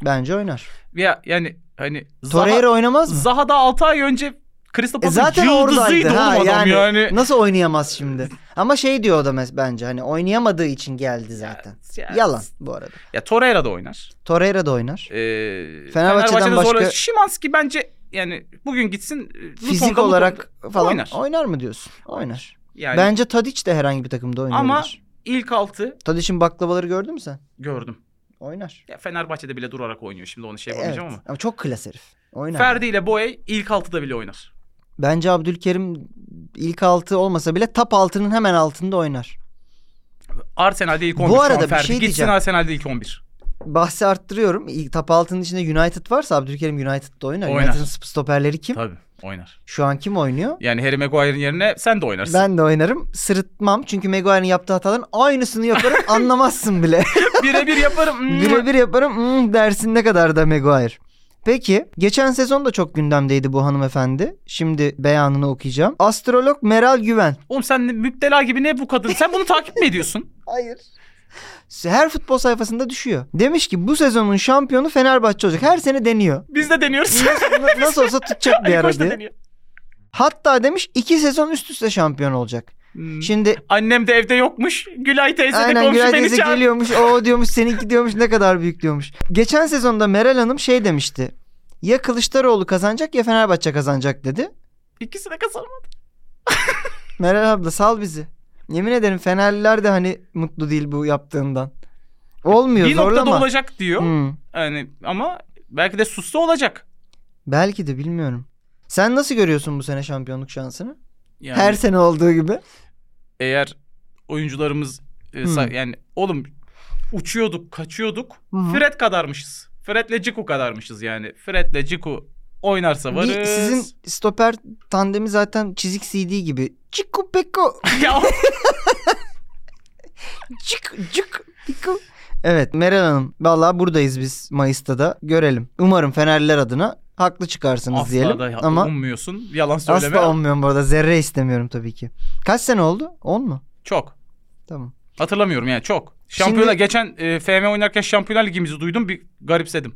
C: Bence oynar.
B: Ya yani hani
C: Torreira
B: Zaha,
C: oynamaz mı?
B: Zaha da 6 ay önce Crystal
C: E
B: Palace'ın
C: zaten oradaydı
B: yıldızıydı oğlum
C: ha
B: adam
C: yani,
B: yani.
C: Nasıl oynayamaz şimdi? Ama şey diyor o da mes- bence hani oynayamadığı için geldi zaten.
B: Ya-
C: Yalan bu arada.
B: Ya Torreira da oynar.
C: Torreira da oynar.
B: Ee,
C: Fenerbahçe'den
B: Fenerbahçe'de zorla-
C: başka-
B: Şimanski bence yani bugün gitsin e, Luton'da
C: Fizik
B: Luton'da
C: olarak falan oynar.
B: oynar.
C: mı diyorsun? Oynar.
B: yani
C: Bence Tadic de herhangi bir takımda oynar.
B: Ama- ilk 6
C: Tadic'in baklavaları gördün mü sen?
B: gördüm.
C: Oynar.
B: Ya Fenerbahçe'de bile durarak oynuyor. Şimdi onu şey
C: Evet.
B: yapamayacağım ama.
C: Ama çok klas herif. Oynar.
B: Ferdi ile Boey ilk 6'da bile oynar.
C: Bence Abdülkerim ilk altı olmasa bile top altının hemen altında oynar.
B: Arsenal'de ilk
C: Bu
B: 11. şu an
C: arada bir
B: Ferdi.
C: şey
B: Gitsin
C: diyeceğim.
B: Arsenal'de ilk 11.
C: Bahsi arttırıyorum. İlk top altının içinde United varsa Abdülkerim United'da oynar.
B: Oynar.
C: United'ın sp- stoperleri kim?
B: Tabii oynar.
C: Şu an kim oynuyor?
B: Yani Harry Maguire'in yerine sen de oynarsın.
C: Ben de oynarım. Sırıtmam. Çünkü Maguire'ın yaptığı hataların aynısını yaparım. anlamazsın bile.
B: [laughs]
C: [laughs]
B: Birebir yaparım.
C: Birebir yaparım. Hmm, dersin ne kadar da Maguire. Peki geçen sezon da çok gündemdeydi bu hanımefendi. Şimdi beyanını okuyacağım. Astrolog Meral Güven.
B: Oğlum sen ne- müptela gibi ne bu kadın? Sen bunu takip mi ediyorsun?
C: Hayır. Her futbol sayfasında düşüyor. Demiş ki bu sezonun şampiyonu Fenerbahçe olacak. Her sene deniyor.
B: Biz de [laughs] deniyoruz.
C: Nasıl, nasıl olsa tutacak bir
B: Ali
C: ara
B: Koç da
C: diye.
B: deniyor.
C: Hatta demiş iki sezon üst üste şampiyon olacak.
B: Hmm.
C: Şimdi
B: Annem de evde yokmuş. Gülay teyze de
C: Aynen
B: komşu
C: Gülay
B: beni
C: teyze
B: çağır. [laughs]
C: geliyormuş. O diyormuş seninki diyormuş ne kadar büyük diyormuş. Geçen sezonda Meral Hanım şey demişti. Ya Kılıçdaroğlu kazanacak ya Fenerbahçe kazanacak dedi.
B: İkisi de kazanmadı.
C: Meral abla sal bizi. Yemin ederim Fenerliler de hani mutlu değil bu yaptığından. Olmuyor
B: Bir
C: zorlama.
B: noktada olacak diyor.
C: Hmm.
B: Yani ama belki de sussa olacak.
C: Belki de bilmiyorum. Sen nasıl görüyorsun bu sene şampiyonluk şansını?
B: Yani
C: Her sene olduğu gibi.
B: eğer oyuncularımız e, sa-
C: Hmm.
B: yani oğlum uçuyorduk, kaçıyorduk.
C: Hı.
B: Fred kadarmışız. Fred'le Ciku kadarmışız yani. Fred'le Ciku oynarsa varız.
C: Bir sizin stoper tandemi zaten çizik CD gibi. Çiku peko.
B: [laughs]
C: [laughs]
B: ya,
C: Cık cık diku. Evet Meral Hanım vallahi buradayız biz Mayıs'ta da görelim. Umarım Fenerliler adına haklı çıkarsınız
B: asla
C: diyelim.
B: da ya-
C: Ama
B: ummuyorsun. Yalan söyleme.
C: asla um- olmuyorum bu arada zerre istemiyorum tabii ki. Kaç sene oldu? 10 mu?
B: Çok.
C: Tamam.
B: Hatırlamıyorum yani çok. Şampiyonlar
C: Şimdi-
B: geçen e, FM oynarken Şampiyonlar Ligimizi duydum bir garipsedim.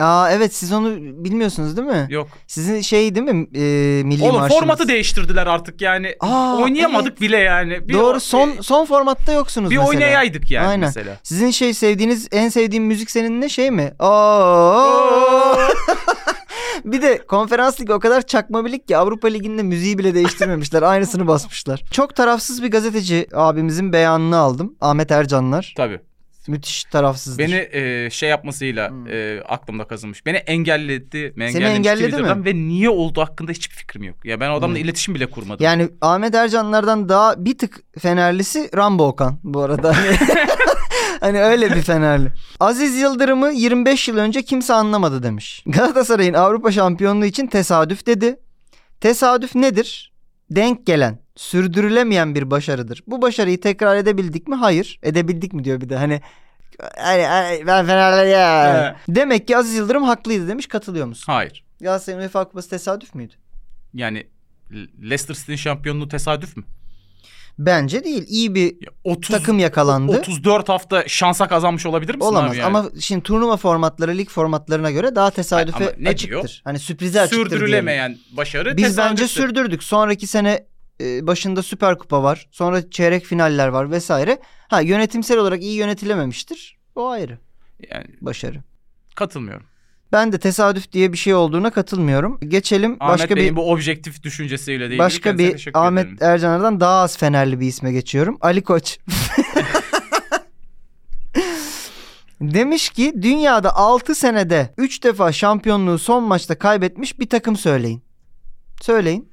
C: Aa evet siz onu bilmiyorsunuz değil mi?
B: Yok.
C: Sizin şey değil mi? E, milli
B: Oğlum
C: marşınız.
B: formatı değiştirdiler artık yani.
C: Aa,
B: Oynayamadık
C: evet.
B: bile yani. Bir o- e,
C: Doğru son
B: bir
C: son formatta yoksunuz mesela.
B: oynayaydık yani
C: Aynen.
B: mesela.
C: Sizin şey sevdiğiniz en sevdiğim müzik senin ne şey mi? Oo. [laughs] bir de konferans ligi o kadar çakma bir lig ki Avrupa Ligi'nde müziği bile değiştirmemişler. Aynısını basmışlar. Çok tarafsız bir gazeteci abimizin beyanını aldım. Ahmet Ercanlar.
B: Tabii.
C: Müthiş tarafsızdır.
B: Beni e, şey yapmasıyla
C: Hmm.
B: e, aklımda kazınmış. Beni engelledi mi?
C: Seni
B: engellemiş
C: engelledi mi?
B: Twitter'dan Ve niye oldu hakkında hiçbir fikrim yok. Ya ben o adamla
C: Hmm.
B: iletişim bile kurmadım.
C: Yani Ahmet Ercanlardan daha bir tık Fenerlisi Rambo Okan bu arada. hani öyle bir Fenerli. Aziz Yıldırım'ı 25 yıl önce kimse anlamadı demiş. Galatasaray'ın Avrupa şampiyonluğu için tesadüf dedi. Tesadüf nedir? Denk gelen, sürdürülemeyen bir başarıdır. Bu başarıyı tekrar edebildik mi? Hayır. Edebildik mi diyor bir de. Hani hani- hani ben Fenerli ya. Demek ki Aziz Yıldırım haklıydı demiş. Katılıyor musun?
B: Hayır.
C: Galatasaray'ın UEFA Kupası tesadüf müydü?
B: Yani Leicester City'nin şampiyonluğu tesadüf mü?
C: Bence değil. İyi bir
B: Ya 30
C: takım yakalandı.
B: 34 hafta şansa kazanmış olabilir misin
C: Olamaz
B: abi yani?
C: ama şimdi turnuva formatları lig formatlarına göre daha tesadüfe
B: Hayır ama ne
C: açıktır.
B: diyor?
C: Hani sürprize açıktır diyelim.
B: sürdürülemeyen başarı
C: Biz
B: tesadüftür.
C: bence sürdürdük. Sonraki sene e, başında Süper Kupa var. Sonra çeyrek finaller var vesaire. Ha yönetimsel olarak iyi yönetilememiştir. O ayrı
B: Yani
C: başarı.
B: katılmıyorum.
C: Ben de tesadüf diye bir şey olduğuna katılmıyorum. Geçelim
B: Ahmet
C: başka
B: Bey'in
C: bir
B: bu objektif düşüncesiyle değil.
C: başka bir Ahmet Ercanlar'dan daha az Fenerli bir isme geçiyorum.
B: [laughs]
C: Ali Koç. Demiş ki dünyada 6 senede 3 defa şampiyonluğu son maçta kaybetmiş bir takım söyleyin. Söyleyin.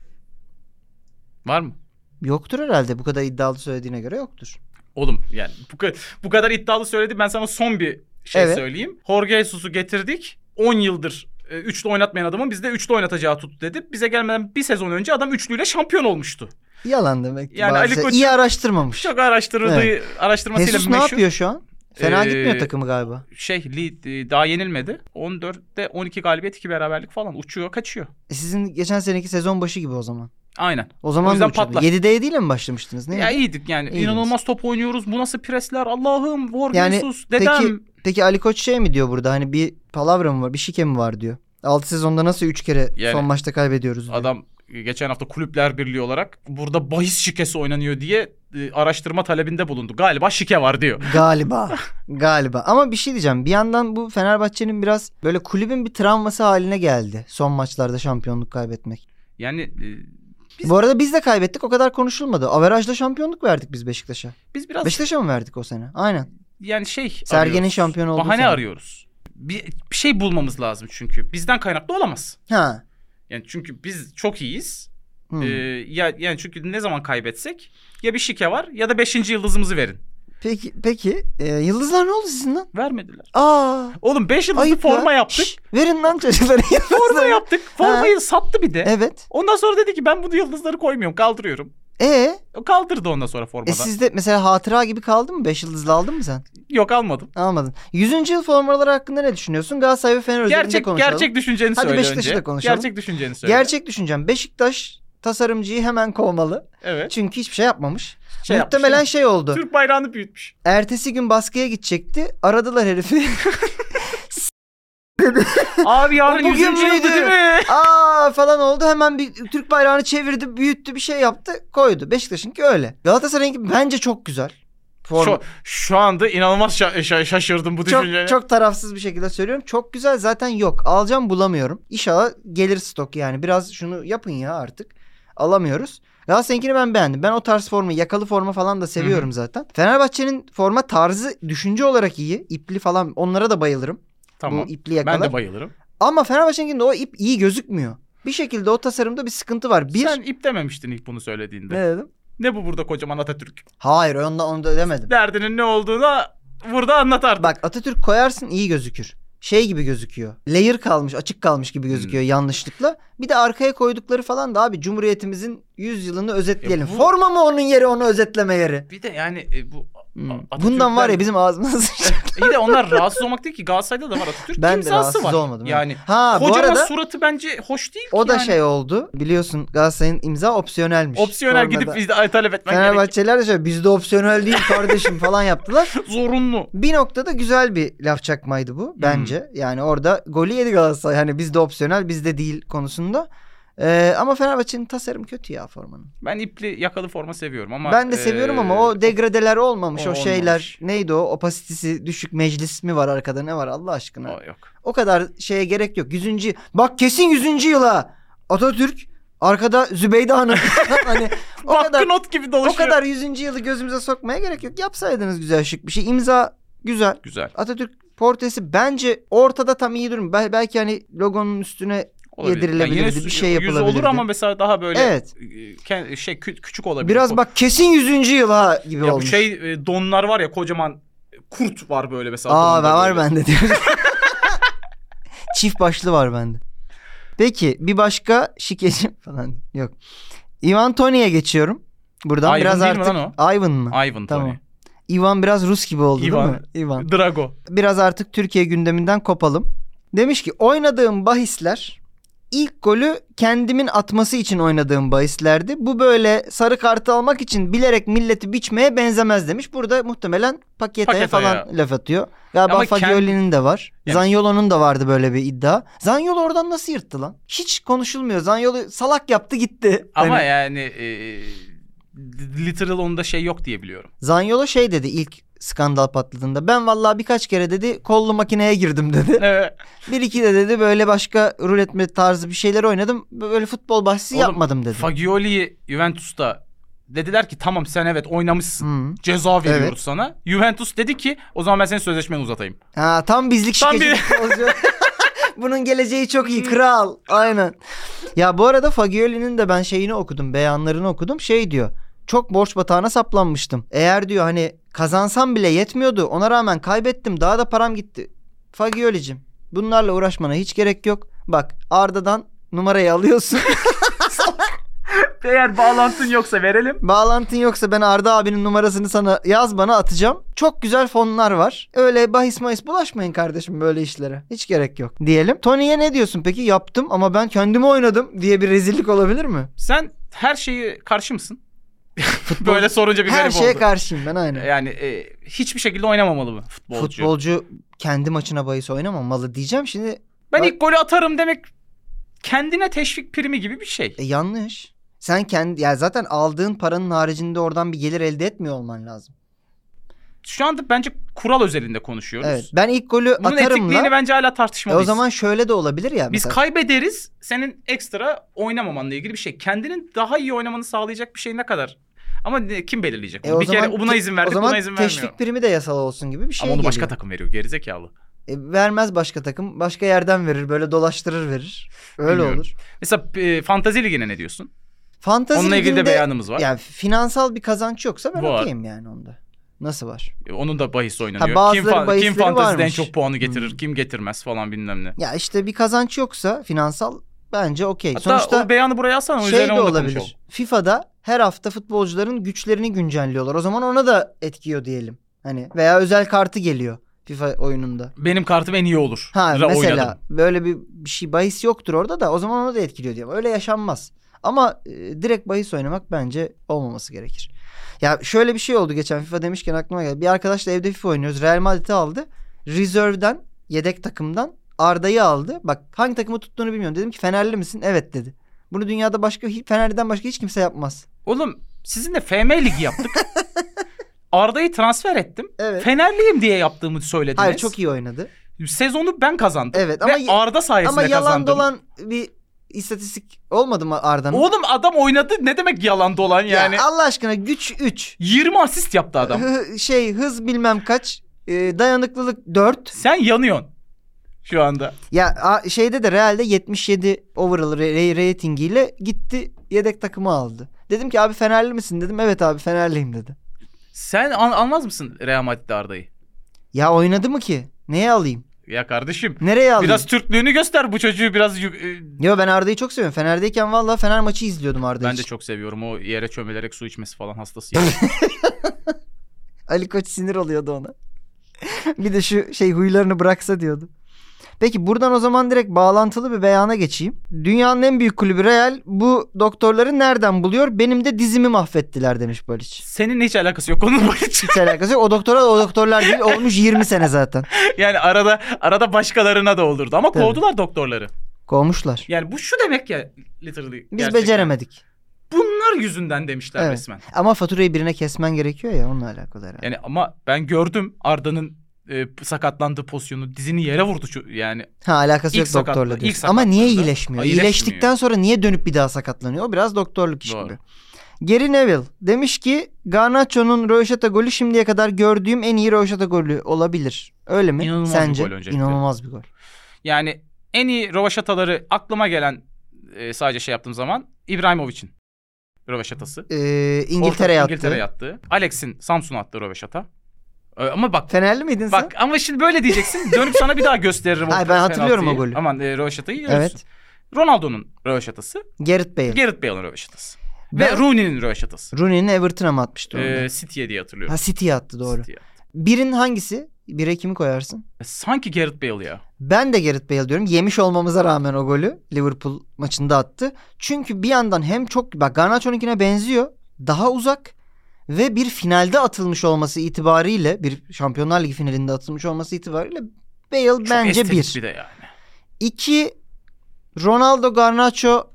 B: Var mı?
C: Yoktur herhalde bu kadar iddialı söylediğine göre yoktur.
B: Oğlum yani bu, ka- bu kadar iddialı söyledi. Ben sana son bir şey
C: Evet.
B: söyleyeyim. Jorge Jesus'u getirdik. 10 yıldır e, üçlü oynatmayan adamın bizde üçlü oynatacağı tuttu dedi. Bize gelmeden bir sezon önce adam üçlüyle şampiyon olmuştu.
C: Yalan demek.
B: Yani
C: Yani
B: Ali Koç-
C: iyi araştırmamış.
B: Çok araştırdığı araştırmasıyla
C: Jesus ne
B: meşhur.
C: yapıyor şu an? Fena
B: Ee,
C: gitmiyor takımı galiba.
B: Şey li- e, daha yenilmedi. 14'te 12 galibiyet 2 beraberlik falan uçuyor kaçıyor.
C: E, Sizin geçen seneki sezon başı gibi o zaman.
B: Aynen.
C: O zaman da
B: yüzden
C: uçurdu.
B: patlar.
C: 7'de 7 ile mi başlamıştınız? Ne?
B: Ya iyiydik yani.
C: İyiydiniz.
B: İnanılmaz top oynuyoruz. Bu nasıl presler? Allah'ım, Jorge
C: Yani
B: Jesus, dedem.
C: peki- Peki Ali Koç şey mi diyor burada? Hani bir palavra mı var? Bir şike mi var diyor. 6 sezonda nasıl 3 kere
B: Yani
C: son maçta kaybediyoruz diyor.
B: Adam e, geçen hafta kulüpler birliği olarak burada bahis şikesi oynanıyor diye e, araştırma talebinde bulundu. Galiba şike var diyor.
C: Galiba.
B: [laughs]
C: Galiba. Ama bir şey diyeceğim. Bir yandan bu Fenerbahçe'nin biraz böyle kulübün bir travması haline geldi. Son maçlarda şampiyonluk kaybetmek.
B: Yani e, Biz-
C: Bu arada biz de kaybettik. O kadar konuşulmadı. Averajla şampiyonluk verdik biz Beşiktaş'a.
B: biz biraz
C: Beşiktaş'a mı verdik o sene? Aynen.
B: yani şey
C: Sergen'in
B: arıyoruz.
C: şampiyon olduğu
B: Bahane
C: sene.
B: arıyoruz. Bir, bir şey bulmamız lazım çünkü. Bizden kaynaklı olamaz.
C: Ha.
B: Yani çünkü biz çok iyiyiz.
C: Hmm.
B: Ee, ya yani çünkü ne zaman kaybetsek ya bir şike var ya da 5. yıldızımızı verin.
C: Peki peki e, yıldızlar ne oldu sizin lan?
B: Vermediler.
C: Aa.
B: Oğlum 5 yıldızlı
C: Ayıp
B: forma
C: ya.
B: yaptık.
C: Şş, verin
B: [laughs]
C: lan çocuklara
B: Forma
C: yıldızları.
B: yaptık. Formayı sattı bir de.
C: Evet.
B: Ondan sonra dedi ki ben bunu yıldızları koymuyorum, kaldırıyorum.
C: E
B: O kaldırdı ondan sonra
C: E
B: formadan.
C: sizde mesela hatıra gibi kaldı mı? Beş yıldızlı aldın mı sen?
B: Yok almadım.
C: Almadın. 100. yıl formaları hakkında ne düşünüyorsun? Galatasaray ve Fener özelinde
B: Gerçek
C: konuşalım.
B: gerçek şey. düşünceni
C: Hadi
B: söyle
C: Beşiktaş'ı
B: önce.
C: da konuşalım.
B: Gerçek düşünceni söyle.
C: Gerçek düşüncem. Beşiktaş tasarımcıyı hemen kovmalı. [laughs]
B: Evet.
C: Çünkü hiçbir şey yapmamış.
B: Şey yapmış,
C: Muhtemelen
B: değil mi?
C: şey oldu.
B: Türk bayrağını büyütmüş.
C: Ertesi gün baskıya gidecekti. Aradılar herifi. [laughs]
B: Abi yarın
C: O bugün
B: 100. yıldı
C: müydü?
B: değil mi?
C: Aa falan oldu. Hemen bir Türk bayrağını çevirdi, büyüttü, bir şey yaptı, koydu. Beşiktaş'ınki öyle. Galatasaray'ınki bence çok güzel. Forma.
B: Şu, şu anda inanılmaz şa- şa- şaşırdım bu
C: çok
B: düşünceye.
C: çok tarafsız bir şekilde söylüyorum. Çok güzel zaten yok. Alacağım bulamıyorum. İnşallah gelir stok yani. Biraz şunu yapın ya artık. Alamıyoruz. Galatasaray'ınkini ben beğendim. Ben o tarz formu, yakalı forma falan da seviyorum zaten. Fenerbahçe'nin forma tarzı düşünce olarak iyi. İpli falan onlara da bayılırım.
B: Tamam.
C: Bu ipli
B: Ben
C: yakalar.
B: de bayılırım.
C: Ama Fenerbahçe'ninkinde o ip iyi gözükmüyor. Bir şekilde o tasarımda bir sıkıntı var. Bir
B: Sen ip dememiştin ilk bunu söylediğinde.
C: ne dedim?
B: Ne bu burada kocaman Atatürk?
C: Hayır onda onu da demedim.
B: Derdinin ne olduğunu burada anlat artık.
C: Bak Atatürk koyarsın iyi gözükür. Şey gibi gözüküyor. Layer kalmış, açık kalmış gibi gözüküyor
B: Hmm.
C: yanlışlıkla. Bir de arkaya koydukları falan da abi Cumhuriyetimizin 100 yılını özetleyelim.
B: E bu-
C: Forma mı onun yeri onu özetleme yeri?
B: Bir de yani e, bu
C: Hmm.
B: Atatürk'ten-
C: Bundan var ya bizim ağzımıza sıçacak.
B: İyi de onlar rahatsız olmak değil ki. Galatasaray'da da var Atatürk
C: ben de
B: imzası
C: rahatsız
B: var.
C: olmadım. evet.
B: Yani
C: [laughs] ha bu
B: kocaman
C: arada
B: suratı bence hoş değil ki
C: o da
B: yani.
C: şey oldu. Biliyorsun Galatasaray'ın imza opsiyonelmiş.
B: Opsiyonel gidip
C: Formada.
B: izle, talep etmen gerek.
C: Fenerbahçeliler de şöyle bizde opsiyonel değil kardeşim falan yaptılar.
B: Zorunlu.
C: Bir noktada güzel bir laf çakmaydı bu bence. Yani orada golü yedi Galatasaray. Hani bizde opsiyonel bizde değil konusunda. Ee, ama Fenerbahçe'nin tasarım kötü ya formanın.
B: Ben ipli yakalı forma seviyorum ama.
C: ben de seviyorum
B: eee,
C: ama o degradeler olmamış.
B: e, o
C: O, şeyler
B: olmamış.
C: neydi o? Opasitesi düşük meclis mi var arkada ne var Allah aşkına.
B: o yok.
C: O kadar şeye gerek yok. Yüzüncü bak kesin yüzüncü yıla Atatürk arkada Zübeyde Hanım.
B: [laughs]
C: hani o
B: Bakkı
C: kadar
B: not gibi
C: o
B: dolaşıyor.
C: kadar 100. yılı gözümüze sokmaya gerek yok. Yapsaydınız güzel şık bir şey. İmza güzel.
B: Güzel.
C: Atatürk portresi bence ortada tam iyi durum. Bel- belki hani logonun üstüne
B: Olabilir.
C: Yedirilebilirdi,
B: yine
C: bir şey
B: yüzü olur
C: yapılabilirdi.
B: ama mesela daha böyle
C: Evet.
B: e, ke- şey kü- küçük olabilir.
C: biraz
B: O-
C: bak kesin 100. yıl ha gibi
B: Ya bu
C: olmuş.
B: şey e, donlar var ya kocaman e, kurt var böyle mesela.
C: Aa
B: donda
C: ben var
B: böyle.
C: bende diyor.
B: [laughs]
C: Çift başlı var bende. Peki bir başka şikeci [laughs] falan yok. Ivan Tony'ye geçiyorum. Buradan
B: Ivan
C: biraz
B: değil mi
C: artık
B: lan
C: Ivan mı?
B: Ivan
C: Tamam.
B: Tony.
C: Ivan biraz Rus gibi oldu
B: Ivan.
C: değil mi? Ivan.
B: Drago.
C: Biraz artık Türkiye gündeminden kopalım. Demiş ki oynadığım bahisler ilk golü kendimin atması için oynadığım bahislerdi. Bu böyle sarı kartı almak için bilerek milleti biçmeye benzemez demiş. Burada muhtemelen paketeye
B: Paketaya.
C: falan laf atıyor. Galiba
B: Ama kend-
C: Fagioli'nin de var.
B: Yani-
C: Zanyolo'nun da vardı böyle bir iddia. Zanyolo oradan nasıl yırttı lan? Hiç konuşulmuyor. Zanyolo salak yaptı gitti.
B: Ama
C: Hani
B: yani e, literal onda şey yok diye biliyorum.
C: Zanyolo şey dedi ilk skandal patladığında. Ben vallahi birkaç kere dedi kollu makineye girdim dedi.
B: Evet.
C: Bir iki de dedi böyle başka rulet mi tarzı bir şeyler oynadım. Böyle futbol bahsisi
B: Oğlum,
C: yapmadım dedi.
B: Fagioli'yi Juventus'ta dediler ki tamam sen evet oynamışsın.
C: Hı.
B: Ceza veriyoruz
C: Evet.
B: sana. Juventus dedi ki o zaman ben senin sözleşmeni uzatayım.
C: Ha, tam bizlik
B: Tam [laughs]
C: şirketi futbolcu. Bunun geleceği çok iyi kral. Aynen. Ya bu arada Fagioli'nin de ben şeyini okudum. Beyanlarını okudum. Şey diyor. Çok borç batağına saplanmıştım. Eğer diyor hani kazansam bile yetmiyordu. Ona rağmen kaybettim. Daha da param gitti. Fagioli'cim bunlarla uğraşmana hiç gerek yok. Bak Arda'dan numarayı alıyorsun.
B: Eğer bağlantın yoksa verelim.
C: Bağlantın yoksa ben Arda abinin numarasını sana yaz bana atacağım. Çok güzel fonlar var. Öyle bahis mahis bulaşmayın kardeşim böyle işlere. Hiç gerek yok diyelim. Tony'ye ne diyorsun peki? Yaptım ama ben kendimi oynadım diye bir rezillik olabilir mi?
B: Sen her şeyi karşı mısın? [laughs] Böyle sorunca bir
C: Her
B: garip
C: şeye
B: oldu.
C: karşıyım ben aynen.
B: yani e, hiçbir şekilde oynamamalı mı futbolcu?
C: Futbolcu kendi maçına bahis oynamamalı diyeceğim. Şimdi
B: Ben
C: Bak-
B: ilk golü atarım demek kendine teşvik primi gibi bir şey.
C: e, yanlış. Sen kendi ya zaten aldığın paranın haricinde oradan bir gelir elde etmiyor olman lazım.
B: Şu anda bence kural özelinde konuşuyoruz.
C: Evet. Ben ilk golü
B: Bunun
C: atarım
B: etikliğini
C: da
B: bence hala
C: e, o
B: tartışmalıyız.
C: zaman şöyle de olabilir ya.
B: biz
C: mesela.
B: kaybederiz. Senin ekstra oynamamanla ilgili bir şey. Kendinin daha iyi oynamanı sağlayacak bir şey ne kadar? Ama ne- kim belirleyecek?
C: E,
B: bunu?
C: o
B: bir kere
C: zaman
B: buna
C: te-
B: izin
C: o
B: verdik,
C: zaman
B: buna izin vermiyor.
C: teşvik primi de yasal olsun gibi bir şey
B: Ama onu başka
C: geliyor.
B: takım veriyor gerizekalı.
C: E, vermez başka takım. Başka yerden verir. Böyle dolaştırır verir. Öyle
B: Bilmiyorum.
C: olur.
B: Mesela e, fantazi ligine ne diyorsun?
C: Fantazi
B: Onunla ilgili de
C: liginde-
B: beyanımız var.
C: Yani finansal bir kazanç yoksa ben
B: Var.
C: okeyim yani onda. Nasıl var?
B: E, Onun da bahis oynanıyor. kim,
C: bazıları
B: fa- kim
C: bahisleri
B: fantaziden
C: varmış. Hmm. E,
B: çok puanı getirir, kim getirmez falan bilmem ne.
C: Ya işte bir kazanç yoksa finansal bence okey.
B: Hatta
C: Sonuçta
B: o beyanı buraya alsana. o
C: şey
B: üzerine
C: de
B: onu da
C: olabilir.
B: konuşalım.
C: FIFA'da her hafta futbolcuların güçlerini güncelliyorlar. O zaman ona da etkiyor diyelim. Hani veya özel kartı geliyor FIFA oyununda.
B: Benim kartım en iyi olur.
C: Ha
B: Ra-
C: mesela
B: oynadım.
C: böyle bir, bir şey bahis yoktur orada da o zaman onu da etkiliyor diye. Öyle yaşanmaz. Ama e, direkt bahis oynamak bence olmaması gerekir. Ya şöyle bir şey oldu geçen FIFA demişken aklıma geldi. Bir arkadaşla evde FIFA oynuyoruz. Real Madrid'i aldı. Reserve'den yedek takımdan Arda'yı aldı. Bak hangi takımı tuttuğunu bilmiyorum. Dedim ki Fenerli misin? Evet dedi. Bunu dünyada başka hi- Fenerli'den başka hiç kimse yapmaz.
B: Oğlum sizinle FM ligi
C: [laughs]
B: yaptık. Arda'yı transfer ettim.
C: Evet.
B: Fenerliyim diye yaptığımı söylediniz.
C: Hayır çok iyi oynadı.
B: Sezonu ben kazandım.
C: Evet ama
B: Ve Arda sayesinde
C: ama yalan
B: kazandım.
C: dolan bir istatistik olmadı mı Arda'nın?
B: Oğlum adam oynadı ne demek yalan dolan
C: Ya
B: yani.
C: Allah aşkına güç 3.
B: 20 asist yaptı adam.
C: Hı- şey hız bilmem kaç e, dayanıklılık 4.
B: Sen yanıyorsun şu anda.
C: Ya a- şeyde de Real'de 77 overall ra- ra- ratingiyle gitti yedek takımı aldı. Dedim ki abi Fenerli misin dedim. Evet abi Fenerliyim dedi.
B: Sen an- almaz mısın Real Madrid'de Arda'yı?
C: Ya oynadı mı ki? Neye alayım?
B: Ya kardeşim
C: Nereye alayım?
B: biraz Türklüğünü göster bu çocuğu biraz. yük- e,
C: Yo ben Arda'yı çok seviyorum. Fener'deyken valla Fener maçı izliyordum Arda'yı. [laughs]
B: Ben de çok seviyorum o yere çömelerek su içmesi falan hastasıyım.
C: Ali Koç sinir oluyordu ona. [laughs] bir de şu şey huylarını bıraksa diyordu. Peki buradan o zaman direkt bağlantılı bir beyana geçeyim. Dünyanın en büyük kulübü Real bu doktorları nereden buluyor? Benim de dizimi mahvettiler demiş Balic.
B: Senin hiç alakası yok onun
C: [laughs]
B: için.
C: Hiç alakası yok. O doktora da o doktorlar değil. Olmuş 20 sene zaten.
B: yani arada arada başkalarına da olurdu ama
C: Tabii.
B: kovdular doktorları.
C: Kovmuşlar.
B: Yani bu şu demek ya literally.
C: Biz
B: gerçekten.
C: beceremedik.
B: Bunlar yüzünden demişler
C: Evet.
B: resmen.
C: Ama faturayı birine kesmen gerekiyor ya onunla alakalı herhalde.
B: Yani ama ben gördüm Arda'nın e, sakatlandığı pozisyonu dizini yere vurdu şu- yani.
C: Ha alakası
B: İlk
C: yok doktorla
B: sakatlığı-
C: diyorsun.
B: ilk
C: Ama niye
B: sakatlığı da-
C: iyileşmiyor?
B: Ha,
C: İyileştikten
B: iyileşmiyor.
C: sonra niye dönüp bir daha sakatlanıyor? O biraz doktorluk işi
B: Doğru.
C: gibi. Gary Neville demiş ki Garnacho'nun röveşata golü şimdiye kadar gördüğüm en iyi röveşata golü olabilir. Öyle mi?
B: İnanılmaz bir
C: Sence?
B: gol öncelikle.
C: İnanılmaz bir gol.
B: Yani en iyi rövaşataları aklıma gelen e, sadece şey yaptığım zaman İbrahimovic'in rövaşatası.
C: Ee, İngiltere'ye attı.
B: İngiltere yattı. Alex'in Samsun'a attığı rövaşata. E, ama bak
C: Fenerli miydin
B: bak ama şimdi böyle
C: [laughs]
B: diyeceksin dönüp sana bir daha gösteririm. o
C: Ay, ben hatırlıyorum
B: penaltıyı.
C: o golü.
B: Aman e, rövaşatayı
C: sen?
B: görürsün.
C: Evet.
B: Ronaldo'nun rövaşatası.
C: Gareth Bale.
B: Gareth Bale'ın rövaşatası.
C: Ben-
B: Ve Rooney'nin rövaşatası.
C: Rooney'nin Everton'a mı atmıştı onu?
B: E, City'ye diye hatırlıyorum.
C: ha City'ye attı doğru.
B: City'ye.
C: Birin hangisi? Bire kimi koyarsın?
B: E, Sanki Gareth Bale ya.
C: Ben de Gareth Bale diyorum. Yemiş olmamıza rağmen o golü Liverpool maçında attı. Çünkü bir yandan hem çok bak Garnacho'nunkine benziyor. Daha uzak ve bir finalde atılmış olması itibariyle bir Şampiyonlar Ligi finalinde atılmış olması itibariyle Bale
B: Çok
C: bence
B: estetik
C: bir.
B: bir de yani.
C: İki Ronaldo Garnacho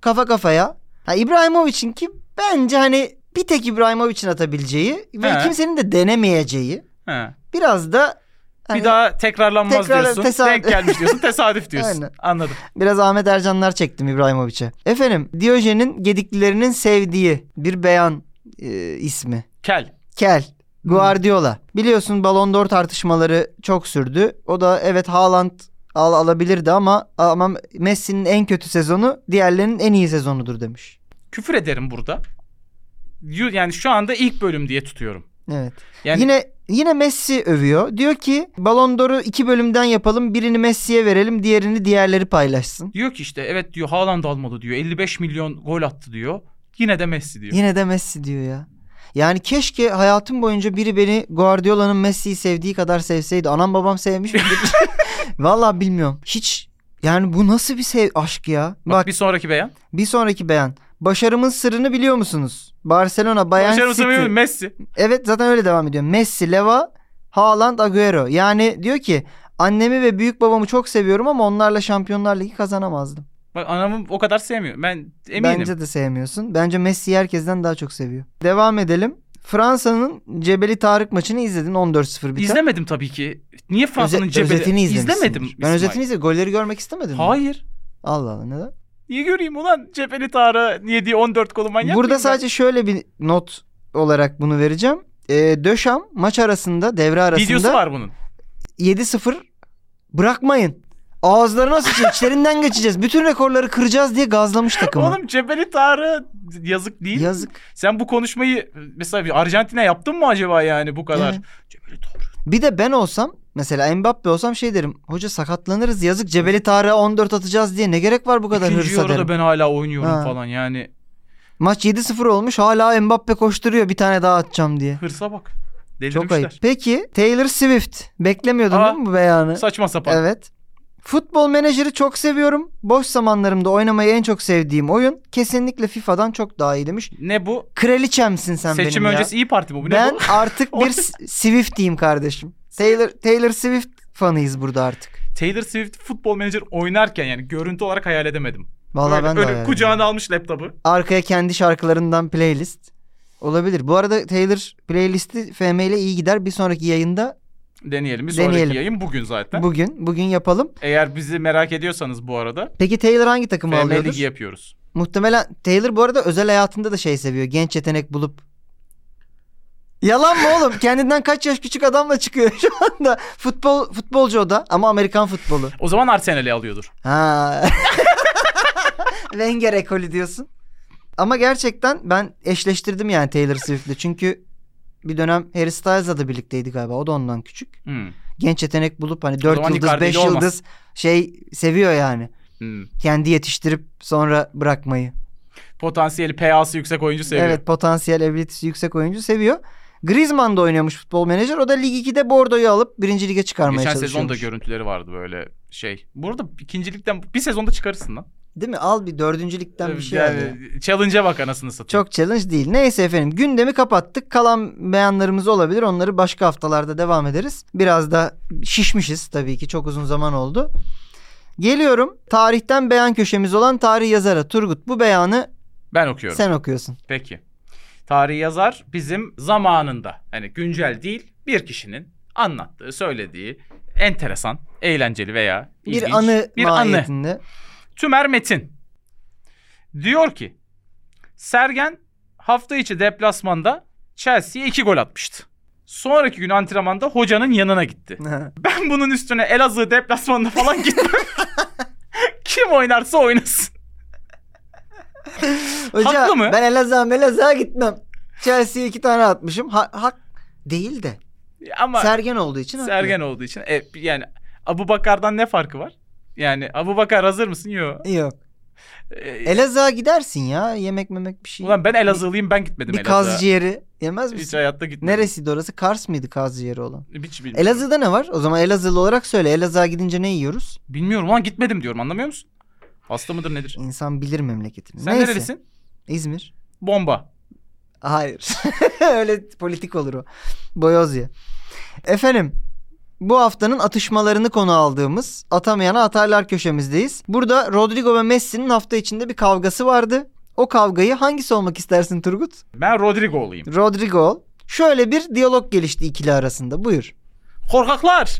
C: kafa kafaya. Ha İbrahimovic'in ki bence hani bir tek İbrahimovic'in atabileceği ve
B: He.
C: kimsenin de denemeyeceği.
B: He.
C: Biraz da hani
B: bir daha tekrarlanmaz
C: tekrar-
B: diyorsun.
C: tesadüf-
B: Denk gelmiş
C: [laughs]
B: diyorsun. Tesadüf diyorsun.
C: Aynen.
B: Anladım.
C: Biraz Ahmet Ercanlar çektim İbrahimovic'e. Efendim Diyojen'in gediklilerinin sevdiği bir beyan e, ismi.
B: Kel.
C: Kel. Guardiola. Biliyorsun Ballon d'Or tartışmaları çok sürdü. O da evet Haaland al alabilirdi ama ama Messi'nin en kötü sezonu diğerlerinin en iyi sezonudur demiş.
B: Küfür ederim burada. Yu- Yani şu anda ilk bölüm diye tutuyorum.
C: Evet.
B: Yani
C: Yine yine Messi övüyor. Diyor ki Ballon d'Or'u iki bölümden yapalım. Birini Messi'ye verelim, diğerini diğerleri paylaşsın.
B: diyor ki işte evet diyor Haaland almalı diyor. 55 milyon gol attı diyor. Yine de Messi diyor.
C: Yine de Messi diyor ya. Yani keşke hayatım boyunca biri beni Guardiola'nın Messi'yi sevdiği kadar sevseydi. Anam babam sevmiş
B: [laughs]
C: midir? Vallahi bilmiyorum. Hiç yani bu nasıl bir sev aşk ya?
B: Bak,
C: Bak,
B: bir sonraki beyan.
C: bir sonraki beyan. Başarımın sırrını biliyor musunuz? Barcelona, Bayern
B: Başarı
C: City.
B: sanıyorum Messi.
C: Evet zaten öyle devam ediyor. Messi, Leva, Haaland, Agüero. Yani diyor ki annemi ve büyük babamı çok seviyorum ama onlarla Şampiyonlar Ligi kazanamazdım.
B: Bak anamı o kadar sevmiyor. Ben eminim.
C: Bence de sevmiyorsun. Bence Messi herkesten daha çok seviyor. Devam edelim. Fransa'nın Cebeli Tarık maçını izledin 14-0 biten.
B: İzlemedim tabii ki. Niye Fransa'nın
C: Öze-
B: cebeli?
C: Özetini izlemişsindir.
B: İzlemedim.
C: Ben
B: İsmail.
C: özetini izledim. Golleri görmek istemedin mi?
B: Hayır.
C: Allah Allah neden?
B: Niye göreyim ulan cepheli Tarık'ın yediği 14 golü manyak mıyım
C: Burada
B: ben?
C: sadece şöyle bir not olarak bunu vereceğim. Ee, Döşam maç arasında devre arasında
B: videosu var bunun.
C: 7-0 bırakmayın. Ağızlarına sıçın içlerinden geçeceğiz. Bütün rekorları kıracağız diye gazlamış takımı.
B: Oğlum Cebeli Tarık yazık değil. mi?
C: Yazık.
B: Sen bu konuşmayı mesela bir Arjantin'e yaptın mı acaba yani bu kadar?
C: Evet.
B: Cebeli Tarık.
C: Bir de ben olsam mesela Mbappe olsam şey derim. Hoca sakatlanırız yazık Cebeli Tarık'a 14 atacağız diye ne gerek var bu kadar
B: İkinci
C: hırsa
B: yarıda
C: derim.
B: ben hala oynuyorum
C: Ha.
B: falan yani.
C: Maç 7-0 olmuş hala Mbappe koşturuyor bir tane daha atacağım diye.
B: Hırsa bak.
C: Çok
B: Delirmişler.
C: ayıp. Peki Taylor Swift beklemiyordun
B: Aa,
C: değil mi bu beyanı?
B: Saçma sapan.
C: Evet. Futbol menajeri çok seviyorum. Boş zamanlarımda oynamayı en çok sevdiğim oyun. Kesinlikle FIFA'dan çok daha iyi demiş.
B: Ne bu?
C: Kraliçemsin sen
B: Seçim
C: benim
B: öncesi iyi parti bu. Bu
C: ya.
B: ne
C: Ben
B: bu?
C: artık
B: [laughs]
C: bir S- Swift'iyim kardeşim. Taylor, Taylor Swift fanıyız burada artık.
B: Taylor Swift futbol menajer oynarken yani görüntü olarak hayal edemedim.
C: Vallahi
B: Böyle-
C: ben de
B: böyle
C: hayal ediyorum.
B: kucağına almış laptopu.
C: Arkaya kendi şarkılarından playlist. Olabilir. Bu arada Taylor playlisti FM ile iyi gider. Bir sonraki yayında
B: Deneyelim. Bir
C: Deneyelim.
B: sonraki yayın bugün zaten.
C: bugün bugün yapalım.
B: Eğer bizi merak ediyorsanız bu arada
C: Peki Taylor hangi takımı
B: FM
C: alıyordur?
B: Ligi yapıyoruz.
C: Muhtemelen Taylor bu arada özel hayatında da şey seviyor. Genç yetenek bulup. Yalan mı oğlum? [laughs] Kendinden kaç yaş küçük adamla çıkıyor [laughs] şu anda. Futbol futbolcu o da ama Amerikan futbolu.
B: O zaman Arsenal'i alıyordur.
C: Ha. [laughs] Wenger ekolü diyorsun. Ama gerçekten ben eşleştirdim yani Taylor Swift'le. Çünkü bir dönem Harry Styles'la da birlikteydi galiba. O da ondan küçük.
B: Hmm.
C: Genç yetenek bulup hani 4
B: zaman
C: yıldız
B: Icardi
C: 5
B: ile olmaz.
C: yıldız şey seviyor yani.
B: Hmm.
C: Kendi yetiştirip sonra bırakmayı.
B: Potansiyeli PA'sı yüksek oyuncu seviyor.
C: Evet potansiyel evliliği yüksek oyuncu seviyor. Griezmann da oynuyormuş futbol menajer. O da Lig 2'de Bordeaux'u alıp birinci lige çıkarmaya
B: Geçen
C: çalışıyormuş.
B: sezon da görüntüleri vardı böyle şey. Burada ikincilikten bir sezonda çıkarırsın lan.
C: Değil mi? Al bir dördüncülükten bir şey al ya.
B: challenge'a bak anasını satayım.
C: Çok challenge değil. Neyse efendim gündemi kapattık. Kalan beyanlarımız olabilir. Onları başka haftalarda devam ederiz. Biraz da şişmişiz tabii ki. Çok uzun zaman oldu. Geliyorum tarihten beyan köşemiz olan tarih yazarı Turgut. Bu beyanı
B: Ben okuyorum.
C: sen okuyorsun.
B: Peki. Tarih yazar bizim zamanında hani güncel değil bir kişinin anlattığı, söylediği enteresan, eğlenceli veya ilginç
C: bir anı
B: bir anı. [laughs]
C: mahiyetinde.
B: Tümer Metin diyor ki Sergen hafta içi deplasmanda Chelsea'ye iki gol atmıştı. Sonraki gün antrenmanda hocanın yanına gitti. Ben bunun üstüne Elazığ deplasmanına falan gitmem. [laughs] Kim oynarsa oynasın.
C: Hoca,
B: Haklı mı?
C: Ben Elazığ'a Melazığ'a gitmem. Chelsea'ye iki tane atmışım. Ha- hak değil de.
B: Ama
C: Sergen olduğu için haklı.
B: Sergen olduğu için e, yani Abu Bakar'dan ne farkı var? Yani Abu Bakar hazır mısın? Yok.
C: Yok. Elazığ'a gidersin ya. Yemek memek bir şey.
B: ulan ben Elazığlıyım ben gitmedim
C: bir
B: Elazığ'a.
C: kaz ciğeri yemez misin?
B: Hiç hayatta gitmedim.
C: Neresiydi orası? Kars mıydı kaz ciğeri olan?
B: Hiç bilmiyorum.
C: Elazığ'da ne var? O zaman Elazığlı olarak söyle. Elazığ'a gidince ne yiyoruz?
B: Bilmiyorum lan gitmedim diyorum anlamıyor musun? Hasta mıdır nedir?
C: İnsan bilir memleketini.
B: Sen
C: Neyse.
B: nerelisin?
C: İzmir.
B: Bomba.
C: Hayır. [laughs] Öyle politik olur o. Boyozya. Efendim bu haftanın atışmalarını konu aldığımız atamayana atarlar köşemizdeyiz. Burada Rodrigo ve Messi'nin hafta içinde bir kavgası vardı. O kavgayı hangisi olmak istersin Turgut?
B: Ben Rodrigo olayım.
C: Rodrigo. ol. Şöyle bir diyalog gelişti ikili arasında. Buyur. [laughs]
B: Korkaklar.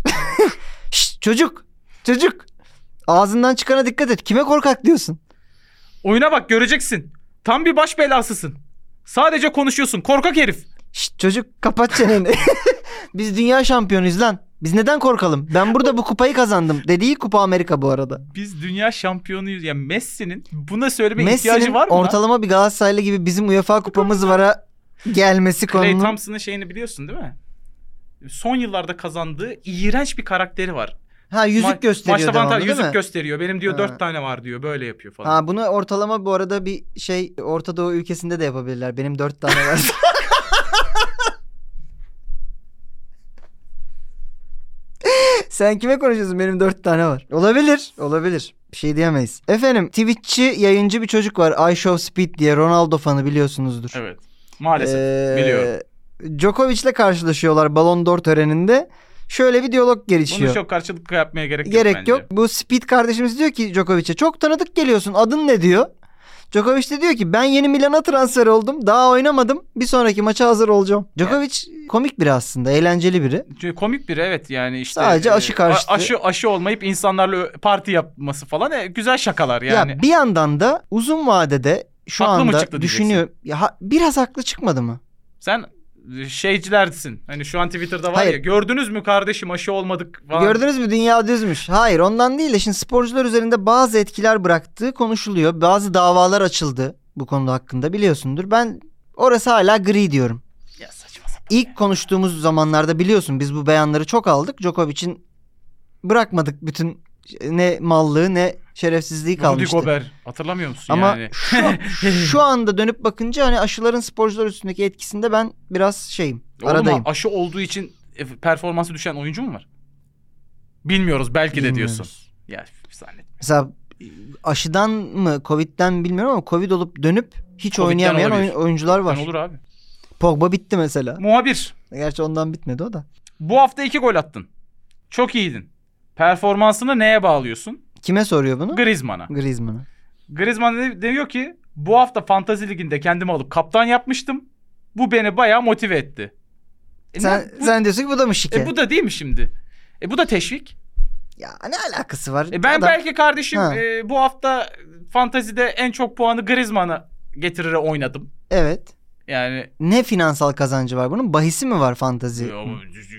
C: Şşt, çocuk. Çocuk. Ağzından çıkana dikkat et. Kime korkak diyorsun?
B: Oyuna bak göreceksin. Tam bir baş belasısın. Sadece konuşuyorsun. Korkak herif.
C: Şşt çocuk kapat çeneni. [laughs] Biz dünya şampiyonuyuz lan. Biz neden korkalım? Ben burada bu kupayı kazandım. Dediği Kupa Amerika bu arada.
B: Biz dünya şampiyonuyuz. Ya Messi'nin buna söyleme
C: Messi'nin
B: ihtiyacı var mı? lan?
C: ortalama bir Galatasaraylı gibi bizim UEFA kupamız vara gelmesi
B: Clay
C: konunun.
B: Thompson'ın şeyini biliyorsun değil mi? Son yıllarda kazandığı iğrenç bir karakteri var.
C: Ha yüzük
B: Ma-
C: gösteriyor
B: maçta bana
C: devamlı
B: ta-
C: değil
B: yüzük
C: mi?
B: gösteriyor. Benim diyor
C: Ha.
B: dört tane var diyor. Böyle yapıyor falan.
C: ha bunu ortalama bu arada bir şey Orta Doğu ülkesinde de yapabilirler. Benim dört tane
B: [laughs]
C: var. Sen kime konuşuyorsun? Benim dört tane var. Olabilir. Olabilir. Bir şey diyemeyiz. Efendim Twitch'çi yayıncı bir çocuk var. I Show Speed diye Ronaldo fanı biliyorsunuzdur.
B: Evet. Maalesef.
C: Ee,
B: biliyorum.
C: Djokovic'le karşılaşıyorlar Ballon d'Or töreninde. Şöyle bir diyalog
B: Bunu
C: gelişiyor.
B: çok karşılık yapmaya gerek yok
C: Gerek
B: bence.
C: yok. Bu Speed kardeşimiz diyor ki Djokovic'e çok tanıdık geliyorsun. Adın ne diyor? Djokovic de diyor ki ben yeni Milan'a transfer oldum. Daha oynamadım. Bir sonraki maça hazır olacağım. Djokovic komik biri aslında. Eğlenceli biri.
B: Çünkü komik bir evet yani işte.
C: Sadece
B: e,
C: aşı karşıtı.
B: a- Aşı, aşı olmayıp insanlarla ö- parti yapması falan e, güzel şakalar yani.
C: Ya bir yandan da uzun vadede şu
B: Haklı mı
C: anda
B: çıktı diyeceksin?
C: düşünüyor. Ya ha- biraz haklı çıkmadı mı?
B: Sen e, şeycilersin. Hani şu an Twitter'da var
C: Hayır.
B: ya gördünüz mü kardeşim aşı olmadık falan.
C: Gördünüz mü dünya düzmüş. Hayır ondan değil de şimdi sporcular üzerinde bazı etkiler bıraktığı konuşuluyor. Bazı davalar açıldı bu konuda hakkında biliyorsundur. Ben orası hala gri diyorum.
B: Ya saçma sapan.
C: İlk konuştuğumuz zamanlarda biliyorsun biz bu beyanları çok aldık. Djokovic'in bırakmadık bütün ne mallığı ne şerefsizliği
B: Rudy
C: kalmıştı.
B: Gobert. Hatırlamıyor musun
C: Ama
B: yani?
C: şu, şu anda dönüp bakınca hani aşıların sporcular üstündeki etkisinde ben biraz şeyim.
B: Oğlum,
C: aradayım.
B: aşı olduğu için e, performansı düşen oyuncu mu var? Bilmiyoruz belki de
C: Bilmiyoruz.
B: diyorsun. Ya zannetmiyorum.
C: Mesela aşıdan mı Covid'den bilmiyorum ama Covid olup dönüp hiç
B: Covid'den
C: oynayamayan
B: olabilir.
C: oyun- oyuncular var.
B: Olur abi.
C: Pogba bitti mesela.
B: Muhabir.
C: Gerçi ondan bitmedi o da.
B: Bu hafta iki gol attın. Çok iyiydin. Performansını neye bağlıyorsun?
C: Kime soruyor bunu?
B: Griezmann'a.
C: Griezmann'a.
B: Griezmann de- diyor ki bu hafta Fantasy Ligi'nde kendimi alıp kaptan yapmıştım. Bu beni bayağı motive etti. E
C: sen,
B: ne- bu,
C: sen diyorsun ki bu da mı şike?
B: e bu da değil mi şimdi? E bu da teşvik.
C: Ya ne alakası var?
B: E ben
C: Adam-
B: belki kardeşim
C: Ha.
B: e, bu hafta Fantasy'de en çok puanı Griezmann'a getirir oynadım.
C: Evet.
B: Yani
C: Ne finansal kazancı var bunun? Bahisi mi var fantazi?
B: ya,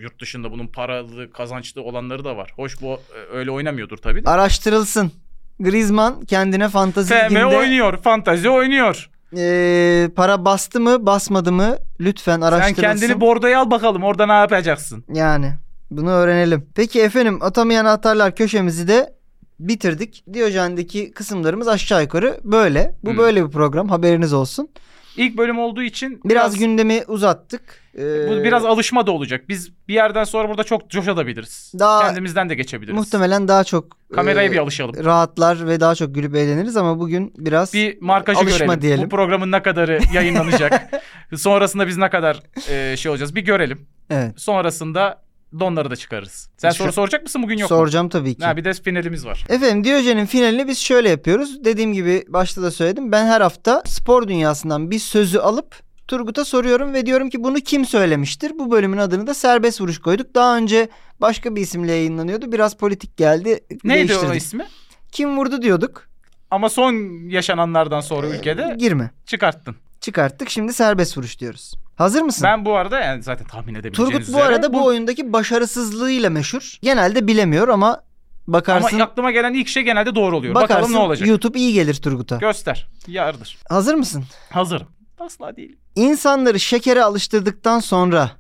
B: yurt dışında bunun paralı kazançlı olanları da var. Hoş bu e, öyle oynamıyordur tabii de.
C: Araştırılsın. Griezmann kendine fantazi
B: FM
C: liginde
B: oynuyor, Fantazi oynuyor.
C: e, para bastı mı basmadı mı lütfen
B: Sen
C: araştırılsın.
B: kendini bordoya al bakalım orada ne yapacaksın?
C: Yani bunu öğrenelim. Peki efendim atamayan atarlar köşemizi de bitirdik. Diyojen'deki kısımlarımız aşağı yukarı böyle. Bu
B: Hmm.
C: böyle bir program haberiniz olsun.
B: İlk bölüm olduğu için
C: Biraz gündemi uzattık. Ee,
B: bu biraz alışma da olacak. Biz bir yerden sonra burada çok coşabiliriz.
C: Daha-
B: Kendimizden de geçebiliriz.
C: Ee, muhtemelen daha çok
B: Kameraya
C: e,
B: bir alışalım.
C: rahatlar ve daha çok gülüp eğleniriz ama bugün biraz
B: Bir markajı
C: Alışma
B: görelim.
C: diyelim.
B: Bu programın ne kadarı
C: [laughs]
B: yayınlanacak. Sonrasında biz ne kadar e, şey olacağız. Bir görelim.
C: evet,
B: Sonrasında donları da çıkarırız. Sen
C: Şu-
B: soru soracak mısın bugün yok mu?
C: soracağım tabii ki.
B: Ha, bir de finalimiz var.
C: Efendim Diyojen'in finalini biz şöyle yapıyoruz. Dediğim gibi başta da söyledim. Ben her hafta spor dünyasından bir sözü alıp Turgut'a soruyorum ve diyorum ki bunu kim söylemiştir? Bu bölümün adını da serbest vuruş koyduk. Daha önce başka bir isimle yayınlanıyordu. Biraz politik geldi.
B: Neydi o
C: değiştirdik.
B: ismi?
C: Kim vurdu diyorduk.
B: Ama son yaşananlardan sonra ülkede
C: Girme.
B: çıkarttın.
C: Çıkarttık. Şimdi serbest vuruş diyoruz. Hazır mısın?
B: Ben bu arada yani zaten tahmin edebileceğiniz
C: Turgut bu
B: üzere
C: arada bu... oyundaki başarısızlığıyla meşhur. Genelde bilemiyor ama
B: ama
C: bakarsın
B: aklıma gelen ilk şey genelde doğru oluyor. Bakalım
C: bakarsın
B: ne olacak.
C: YouTube iyi gelir Turgut'a.
B: Göster. Yardır.
C: Hazır mısın?
B: Hazırım. Asla değil.
C: İnsanları şekere alıştırdıktan sonra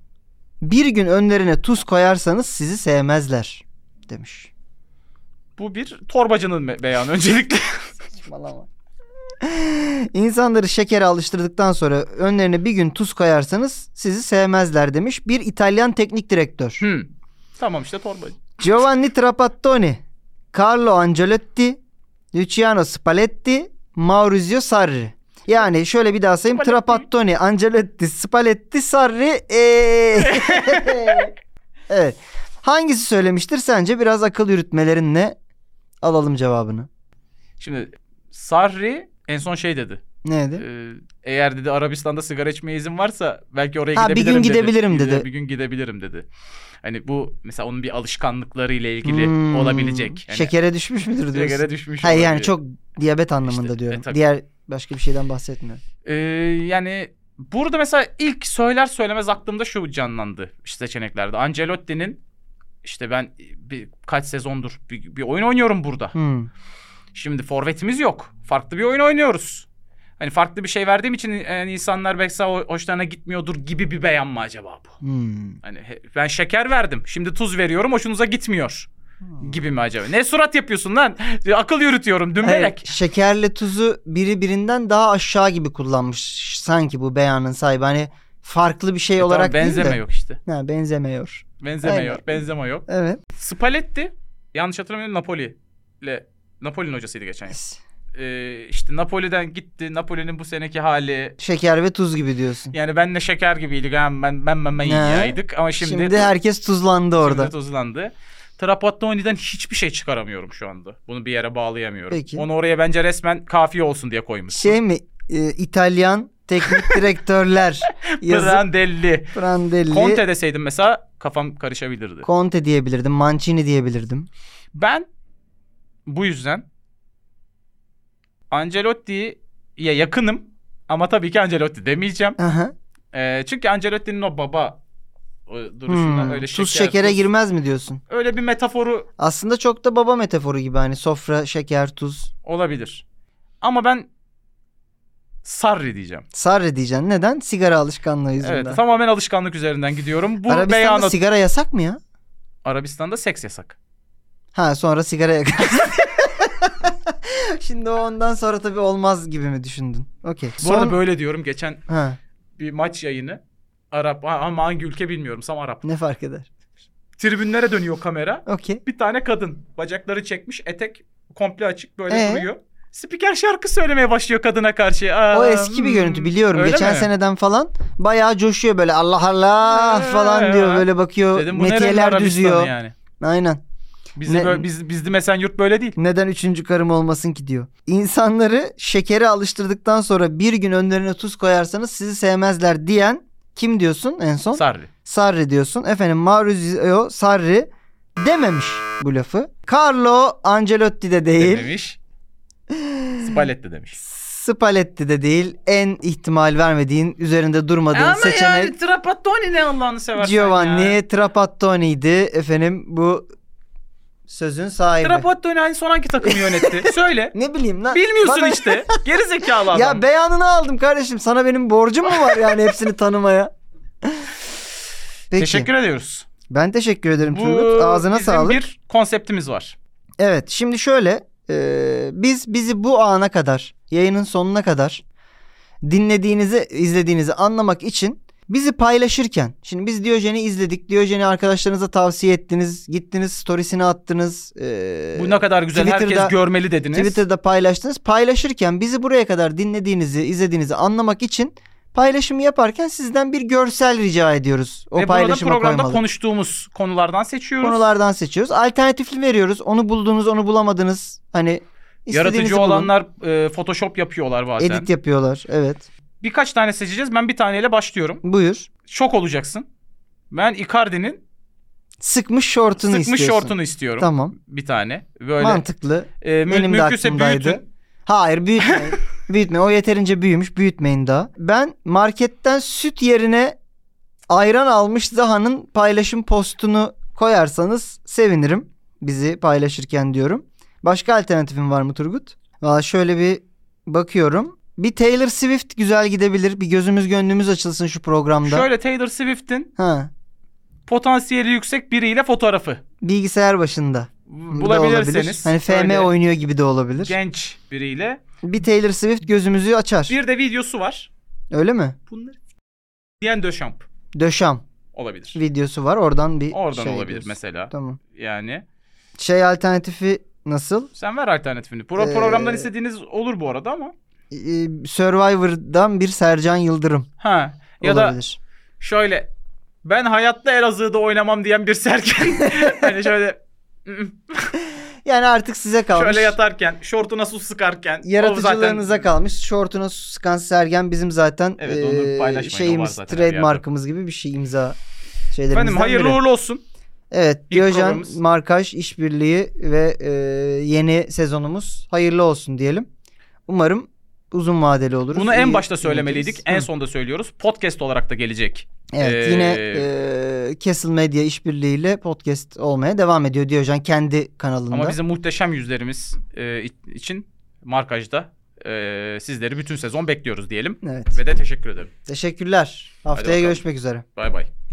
C: bir gün önlerine tuz koyarsanız sizi sevmezler demiş.
B: Bu bir torbacının me- beyanı
C: [laughs]
B: öncelikle.
C: Saçmalama. [laughs] İnsanları şekere alıştırdıktan sonra önlerine bir gün tuz koyarsanız sizi sevmezler demiş bir İtalyan teknik direktör.
B: Hmm. Tamam işte torbacı.
C: Giovanni Trapattoni, Carlo Ancelotti, Luciano Spalletti, Maurizio Sarri. Yani şöyle bir daha sayayım.
B: Spalletti.
C: Trapattoni, Ancelotti, Spalletti, Sarri. Ee.
B: [laughs]
C: evet. Hangisi söylemiştir sence? Biraz akıl yürütmelerinle alalım cevabını.
B: Şimdi Sarri en son şey dedi.
C: Neydi?
B: Ee, eğer dedi Arabistan'da sigara içmeye izin varsa belki oraya
C: Ha, bir
B: gidebilirim
C: gün
B: dedi.
C: gidebilirim
B: Bir de-
C: dedi.
B: Bir gün gidebilirim dedi. Hani bu mesela onun bir alışkanlıkları ile ilgili
C: Hmm.
B: olabilecek. Yani
C: Şekere düşmüş müdür diyorsun?
B: sigara düşmüş.
C: Hayır yani
B: olabilir.
C: çok diyabet anlamında
B: İşte, e,
C: diyorum.
B: tabii.
C: Diğer başka bir şeyden bahsetmiyorum.
B: Ee, yani burada mesela ilk söyler söylemez aklımda şu canlandı işte seçeneklerde. Ancelotti'nin işte ben bir, kaç sezondur bir, bir oyun oynuyorum burada.
C: Hmm.
B: Şimdi forvetimiz yok. Farklı bir oyun oynuyoruz. Hani farklı bir şey verdiğim için yani insanlar belki sağ- hoşlarına gitmiyordur gibi bir beyan mı acaba bu?
C: Hmm.
B: Hani he- ben şeker verdim. Şimdi tuz veriyorum. Hoşunuza gitmiyor. Gibi mi acaba? Ne surat yapıyorsun lan? [laughs] Akıl yürütüyorum
C: Evet,
B: dümbelek.
C: şekerle tuzu biri birinden daha aşağı gibi kullanmış sanki bu beyanın sahibi. Hani farklı bir şey
B: E, Tamam,
C: olarak
B: benzeme
C: değil de.
B: yok işte.
C: Ha, benzemiyor.
B: Benzeme yok.
C: Aynen.
B: Benzeme yok.
C: Evet.
B: Spalletti yanlış hatırlamıyorum Napoli ile Napoli'nin hocasıydı geçen yıl. Ee, işte Napoli'den gitti. Napoli'nin bu seneki hali
C: Şeker ve tuz gibi diyorsun.
B: yani benle şeker gibiydik. Ha, ben ben ben ben iyi
C: Ha.
B: yaydık ama şimdi
C: Şimdi, herkes tuzlandı orada.
B: Şimdi tuzlandı. Trapattoni'den hiçbir şey çıkaramıyorum şu anda. Bunu bir yere bağlayamıyorum.
C: Peki.
B: Onu oraya bence resmen kafiye olsun diye koymuş.
C: Şey mi? e, İtalyan
B: [laughs]
C: teknik direktörler yazıp
B: Prandelli.
C: Prandelli, Conte.
B: Conte deseydim mesela kafam karışabilirdi.
C: diyebilirdim, Mancini diyebilirdim.
B: Ben bu yüzden Ancelotti'ye yakınım ama tabii ki Ancelotti demeyeceğim.
C: Aha.
B: Ee, çünkü Ancelotti'nin o baba e, duruşundan
C: Hmm,
B: öyle şeker,
C: tuz şekere
B: tuz-
C: girmez mi diyorsun?
B: Öyle bir metaforu
C: Aslında çok da baba metaforu gibi hani sofra, şeker, tuz.
B: olabilir. Ama ben Sarri diyeceğim.
C: Sarre diyeceksin. Neden? Sigara alışkanlığı yüzünden.
B: Evet, tamamen alışkanlık üzerinden gidiyorum. Bu
C: Arabistan'da
B: beyana
C: sigara yasak mı ya?
B: Arabistan'da seks yasak.
C: Ha sonra sigara yakar. [laughs] Şimdi o ondan sonra tabii olmaz gibi mi düşündün? Okey.
B: Bu arada böyle diyorum. Geçen
C: Ha,
B: bir maç yayını Arap ha- ama hangi ülke bilmiyorum. Sam Arap.
C: ne fark eder?
B: Tribünlere dönüyor kamera.
C: Okey.
B: Bir tane kadın bacakları çekmiş, etek komple açık böyle
C: Ee?
B: duruyor. Spiker şarkı söylemeye başlıyor kadına karşı. Aa,
C: O eski bir
B: hmm.
C: görüntü biliyorum.
B: Öyle
C: Geçen
B: mi?
C: seneden falan bayağı coşuyor böyle Allah Allah
B: Ee,
C: falan diyor. Böyle bakıyor.
B: Dedim bu nerenin
C: metiyeler
B: Arabistan'ı
C: düzüyor.
B: yani.
C: Aynen.
B: Bizde
C: Ne-
B: böyle, biz, bizde Esenyurt böyle değil.
C: Neden üçüncü karım olmasın ki diyor. İnsanları şekere alıştırdıktan sonra bir gün önlerine tuz koyarsanız sizi sevmezler diyen kim diyorsun en son?
B: Sarri.
C: Sarri diyorsun. Efendim Maurizio Sarri dememiş bu lafı. Carlo Ancelotti de değil.
B: Dememiş. Spalletti demiş.
C: Spalletti de değil. En ihtimal vermediğin, üzerinde durmadığın
B: Ama
C: seçenek
B: yani Trapattoni ne Allah'ını seversen
C: Giovanni
B: ya.
C: Trapattoni'ydi. Efendim bu sözün sahibi.
B: Trapattoni en son hangi takımı
C: [laughs]
B: yönetti? Söyle.
C: ne bileyim lan.
B: Bilmiyorsun
C: Bana-
B: işte. Geri zekalı adam.
C: Ya beyanını aldım kardeşim. Sana benim borcum mu var yani hepsini tanımaya? [laughs] Peki.
B: Teşekkür ediyoruz.
C: Ben teşekkür ederim
B: Bu
C: Turgut. Ağzına
B: bizim
C: sağlık.
B: bir konseptimiz var.
C: Evet şimdi şöyle e, biz bizi bu ana kadar yayının sonuna kadar dinlediğinizi, izlediğinizi anlamak için bizi paylaşırken şimdi biz Diyojen'i izledik. Diyojen'i arkadaşlarınıza tavsiye ettiniz. Gittiniz storiesini attınız. ee,
B: Bu ne kadar güzel
C: Twitter'da-
B: herkes görmeli dediniz.
C: Twitter'da paylaştınız. Paylaşırken bizi buraya kadar dinlediğinizi, izlediğinizi anlamak için paylaşımı yaparken sizden bir görsel rica ediyoruz. O
B: Ve burada
C: paylaşıma
B: programda
C: koymalı.
B: konuştuğumuz konulardan seçiyoruz.
C: Konulardan seçiyoruz. Alternatifli veriyoruz. Onu buldunuz, onu bulamadınız. Hani istediğinizi
B: Yaratıcı
C: bulun.
B: olanlar e, Photoshop yapıyorlar bazen.
C: edit yapıyorlar. Evet.
B: Birkaç tane seçeceğiz. Ben bir taneyle başlıyorum.
C: Buyur.
B: Şok olacaksın. Ben Icardi'nin
C: Sıkmış şortunu
B: sıkmış
C: istiyorsun.
B: şortunu istiyorum.
C: Tamam.
B: bir tane. Böyle
C: Mantıklı.
B: e, mü-
C: Benim de
B: mümkünse
C: aklımdaydı.
B: büyütün. [laughs]
C: Hayır büyütmeyin. büyütme. O yeterince büyümüş. Büyütmeyin daha. Ben marketten süt yerine ayran almış Zaha'nın paylaşım postunu koyarsanız sevinirim. Bizi paylaşırken diyorum. Başka alternatifin var mı Turgut? Valla şöyle bir bakıyorum. Bir Taylor Swift güzel gidebilir. Bir gözümüz gönlümüz açılsın şu programda.
B: Şöyle Taylor Swift'in
C: Ha,
B: potansiyeli yüksek biriyle fotoğrafı
C: bilgisayar başında. Bu da olabilir.
B: bulabilirseniz.
C: Hani FM
B: böyle
C: oynuyor gibi de olabilir.
B: Genç biriyle.
C: Bir Taylor Swift gözümüzü açar.
B: Bir de videosu var.
C: Öyle mi?
B: Bunları diyen Döşamp
C: Döşam
B: olabilir.
C: videosu var. Oradan bir
B: Oradan
C: şey
B: olabilir
C: diyorsun.
B: mesela.
C: Tamam.
B: Yani
C: Şey alternatifi nasıl?
B: sen ver alternatifini. Pro-
C: Ee,
B: programdan istediğiniz olur bu arada ama.
C: Ee, Survivor'dan bir Sercan Yıldırım
B: Ha. Ya da
C: olabilir.
B: şöyle ben hayatta Elazığ'da oynamam diyen bir
C: [laughs]
B: serken hani şöyle
C: Yani artık size kalmış.
B: şöyle yatarken, şortuna su sıkarken o
C: Yaratıcılığınıza
B: zaten-
C: kalmış. Şortuna su sıkan Sergen bizim zaten
B: Evet, onu
C: ee,
B: paylaşmayın. O var
C: şeyimiz,
B: zaten her
C: trademarkımız gibi bir şey imza şeylerimizden
B: Efendim hayırlı
C: biri.
B: uğurlu olsun.
C: Evet,
B: İlk
C: Diyojen
B: programımız.
C: Markaj işbirliği ve ee, yeni sezonumuz hayırlı olsun diyelim. Umarım uzun vadeli olur.
B: Bunu en başta söylemeliydik. En sonda söylüyoruz. Podcast olarak da gelecek.
C: Evet
B: Ee,
C: yine e, Castle Media işbirliğiyle podcast olmaya devam ediyor Diyojen kendi kanalında.
B: Ama bizim muhteşem yüzlerimiz e, i- için markajda e, sizleri bütün sezon bekliyoruz diyelim.
C: Evet.
B: Ve de teşekkür ederim.
C: Teşekkürler. Haftaya
B: bakalım.
C: görüşmek üzere.
B: Bay bay.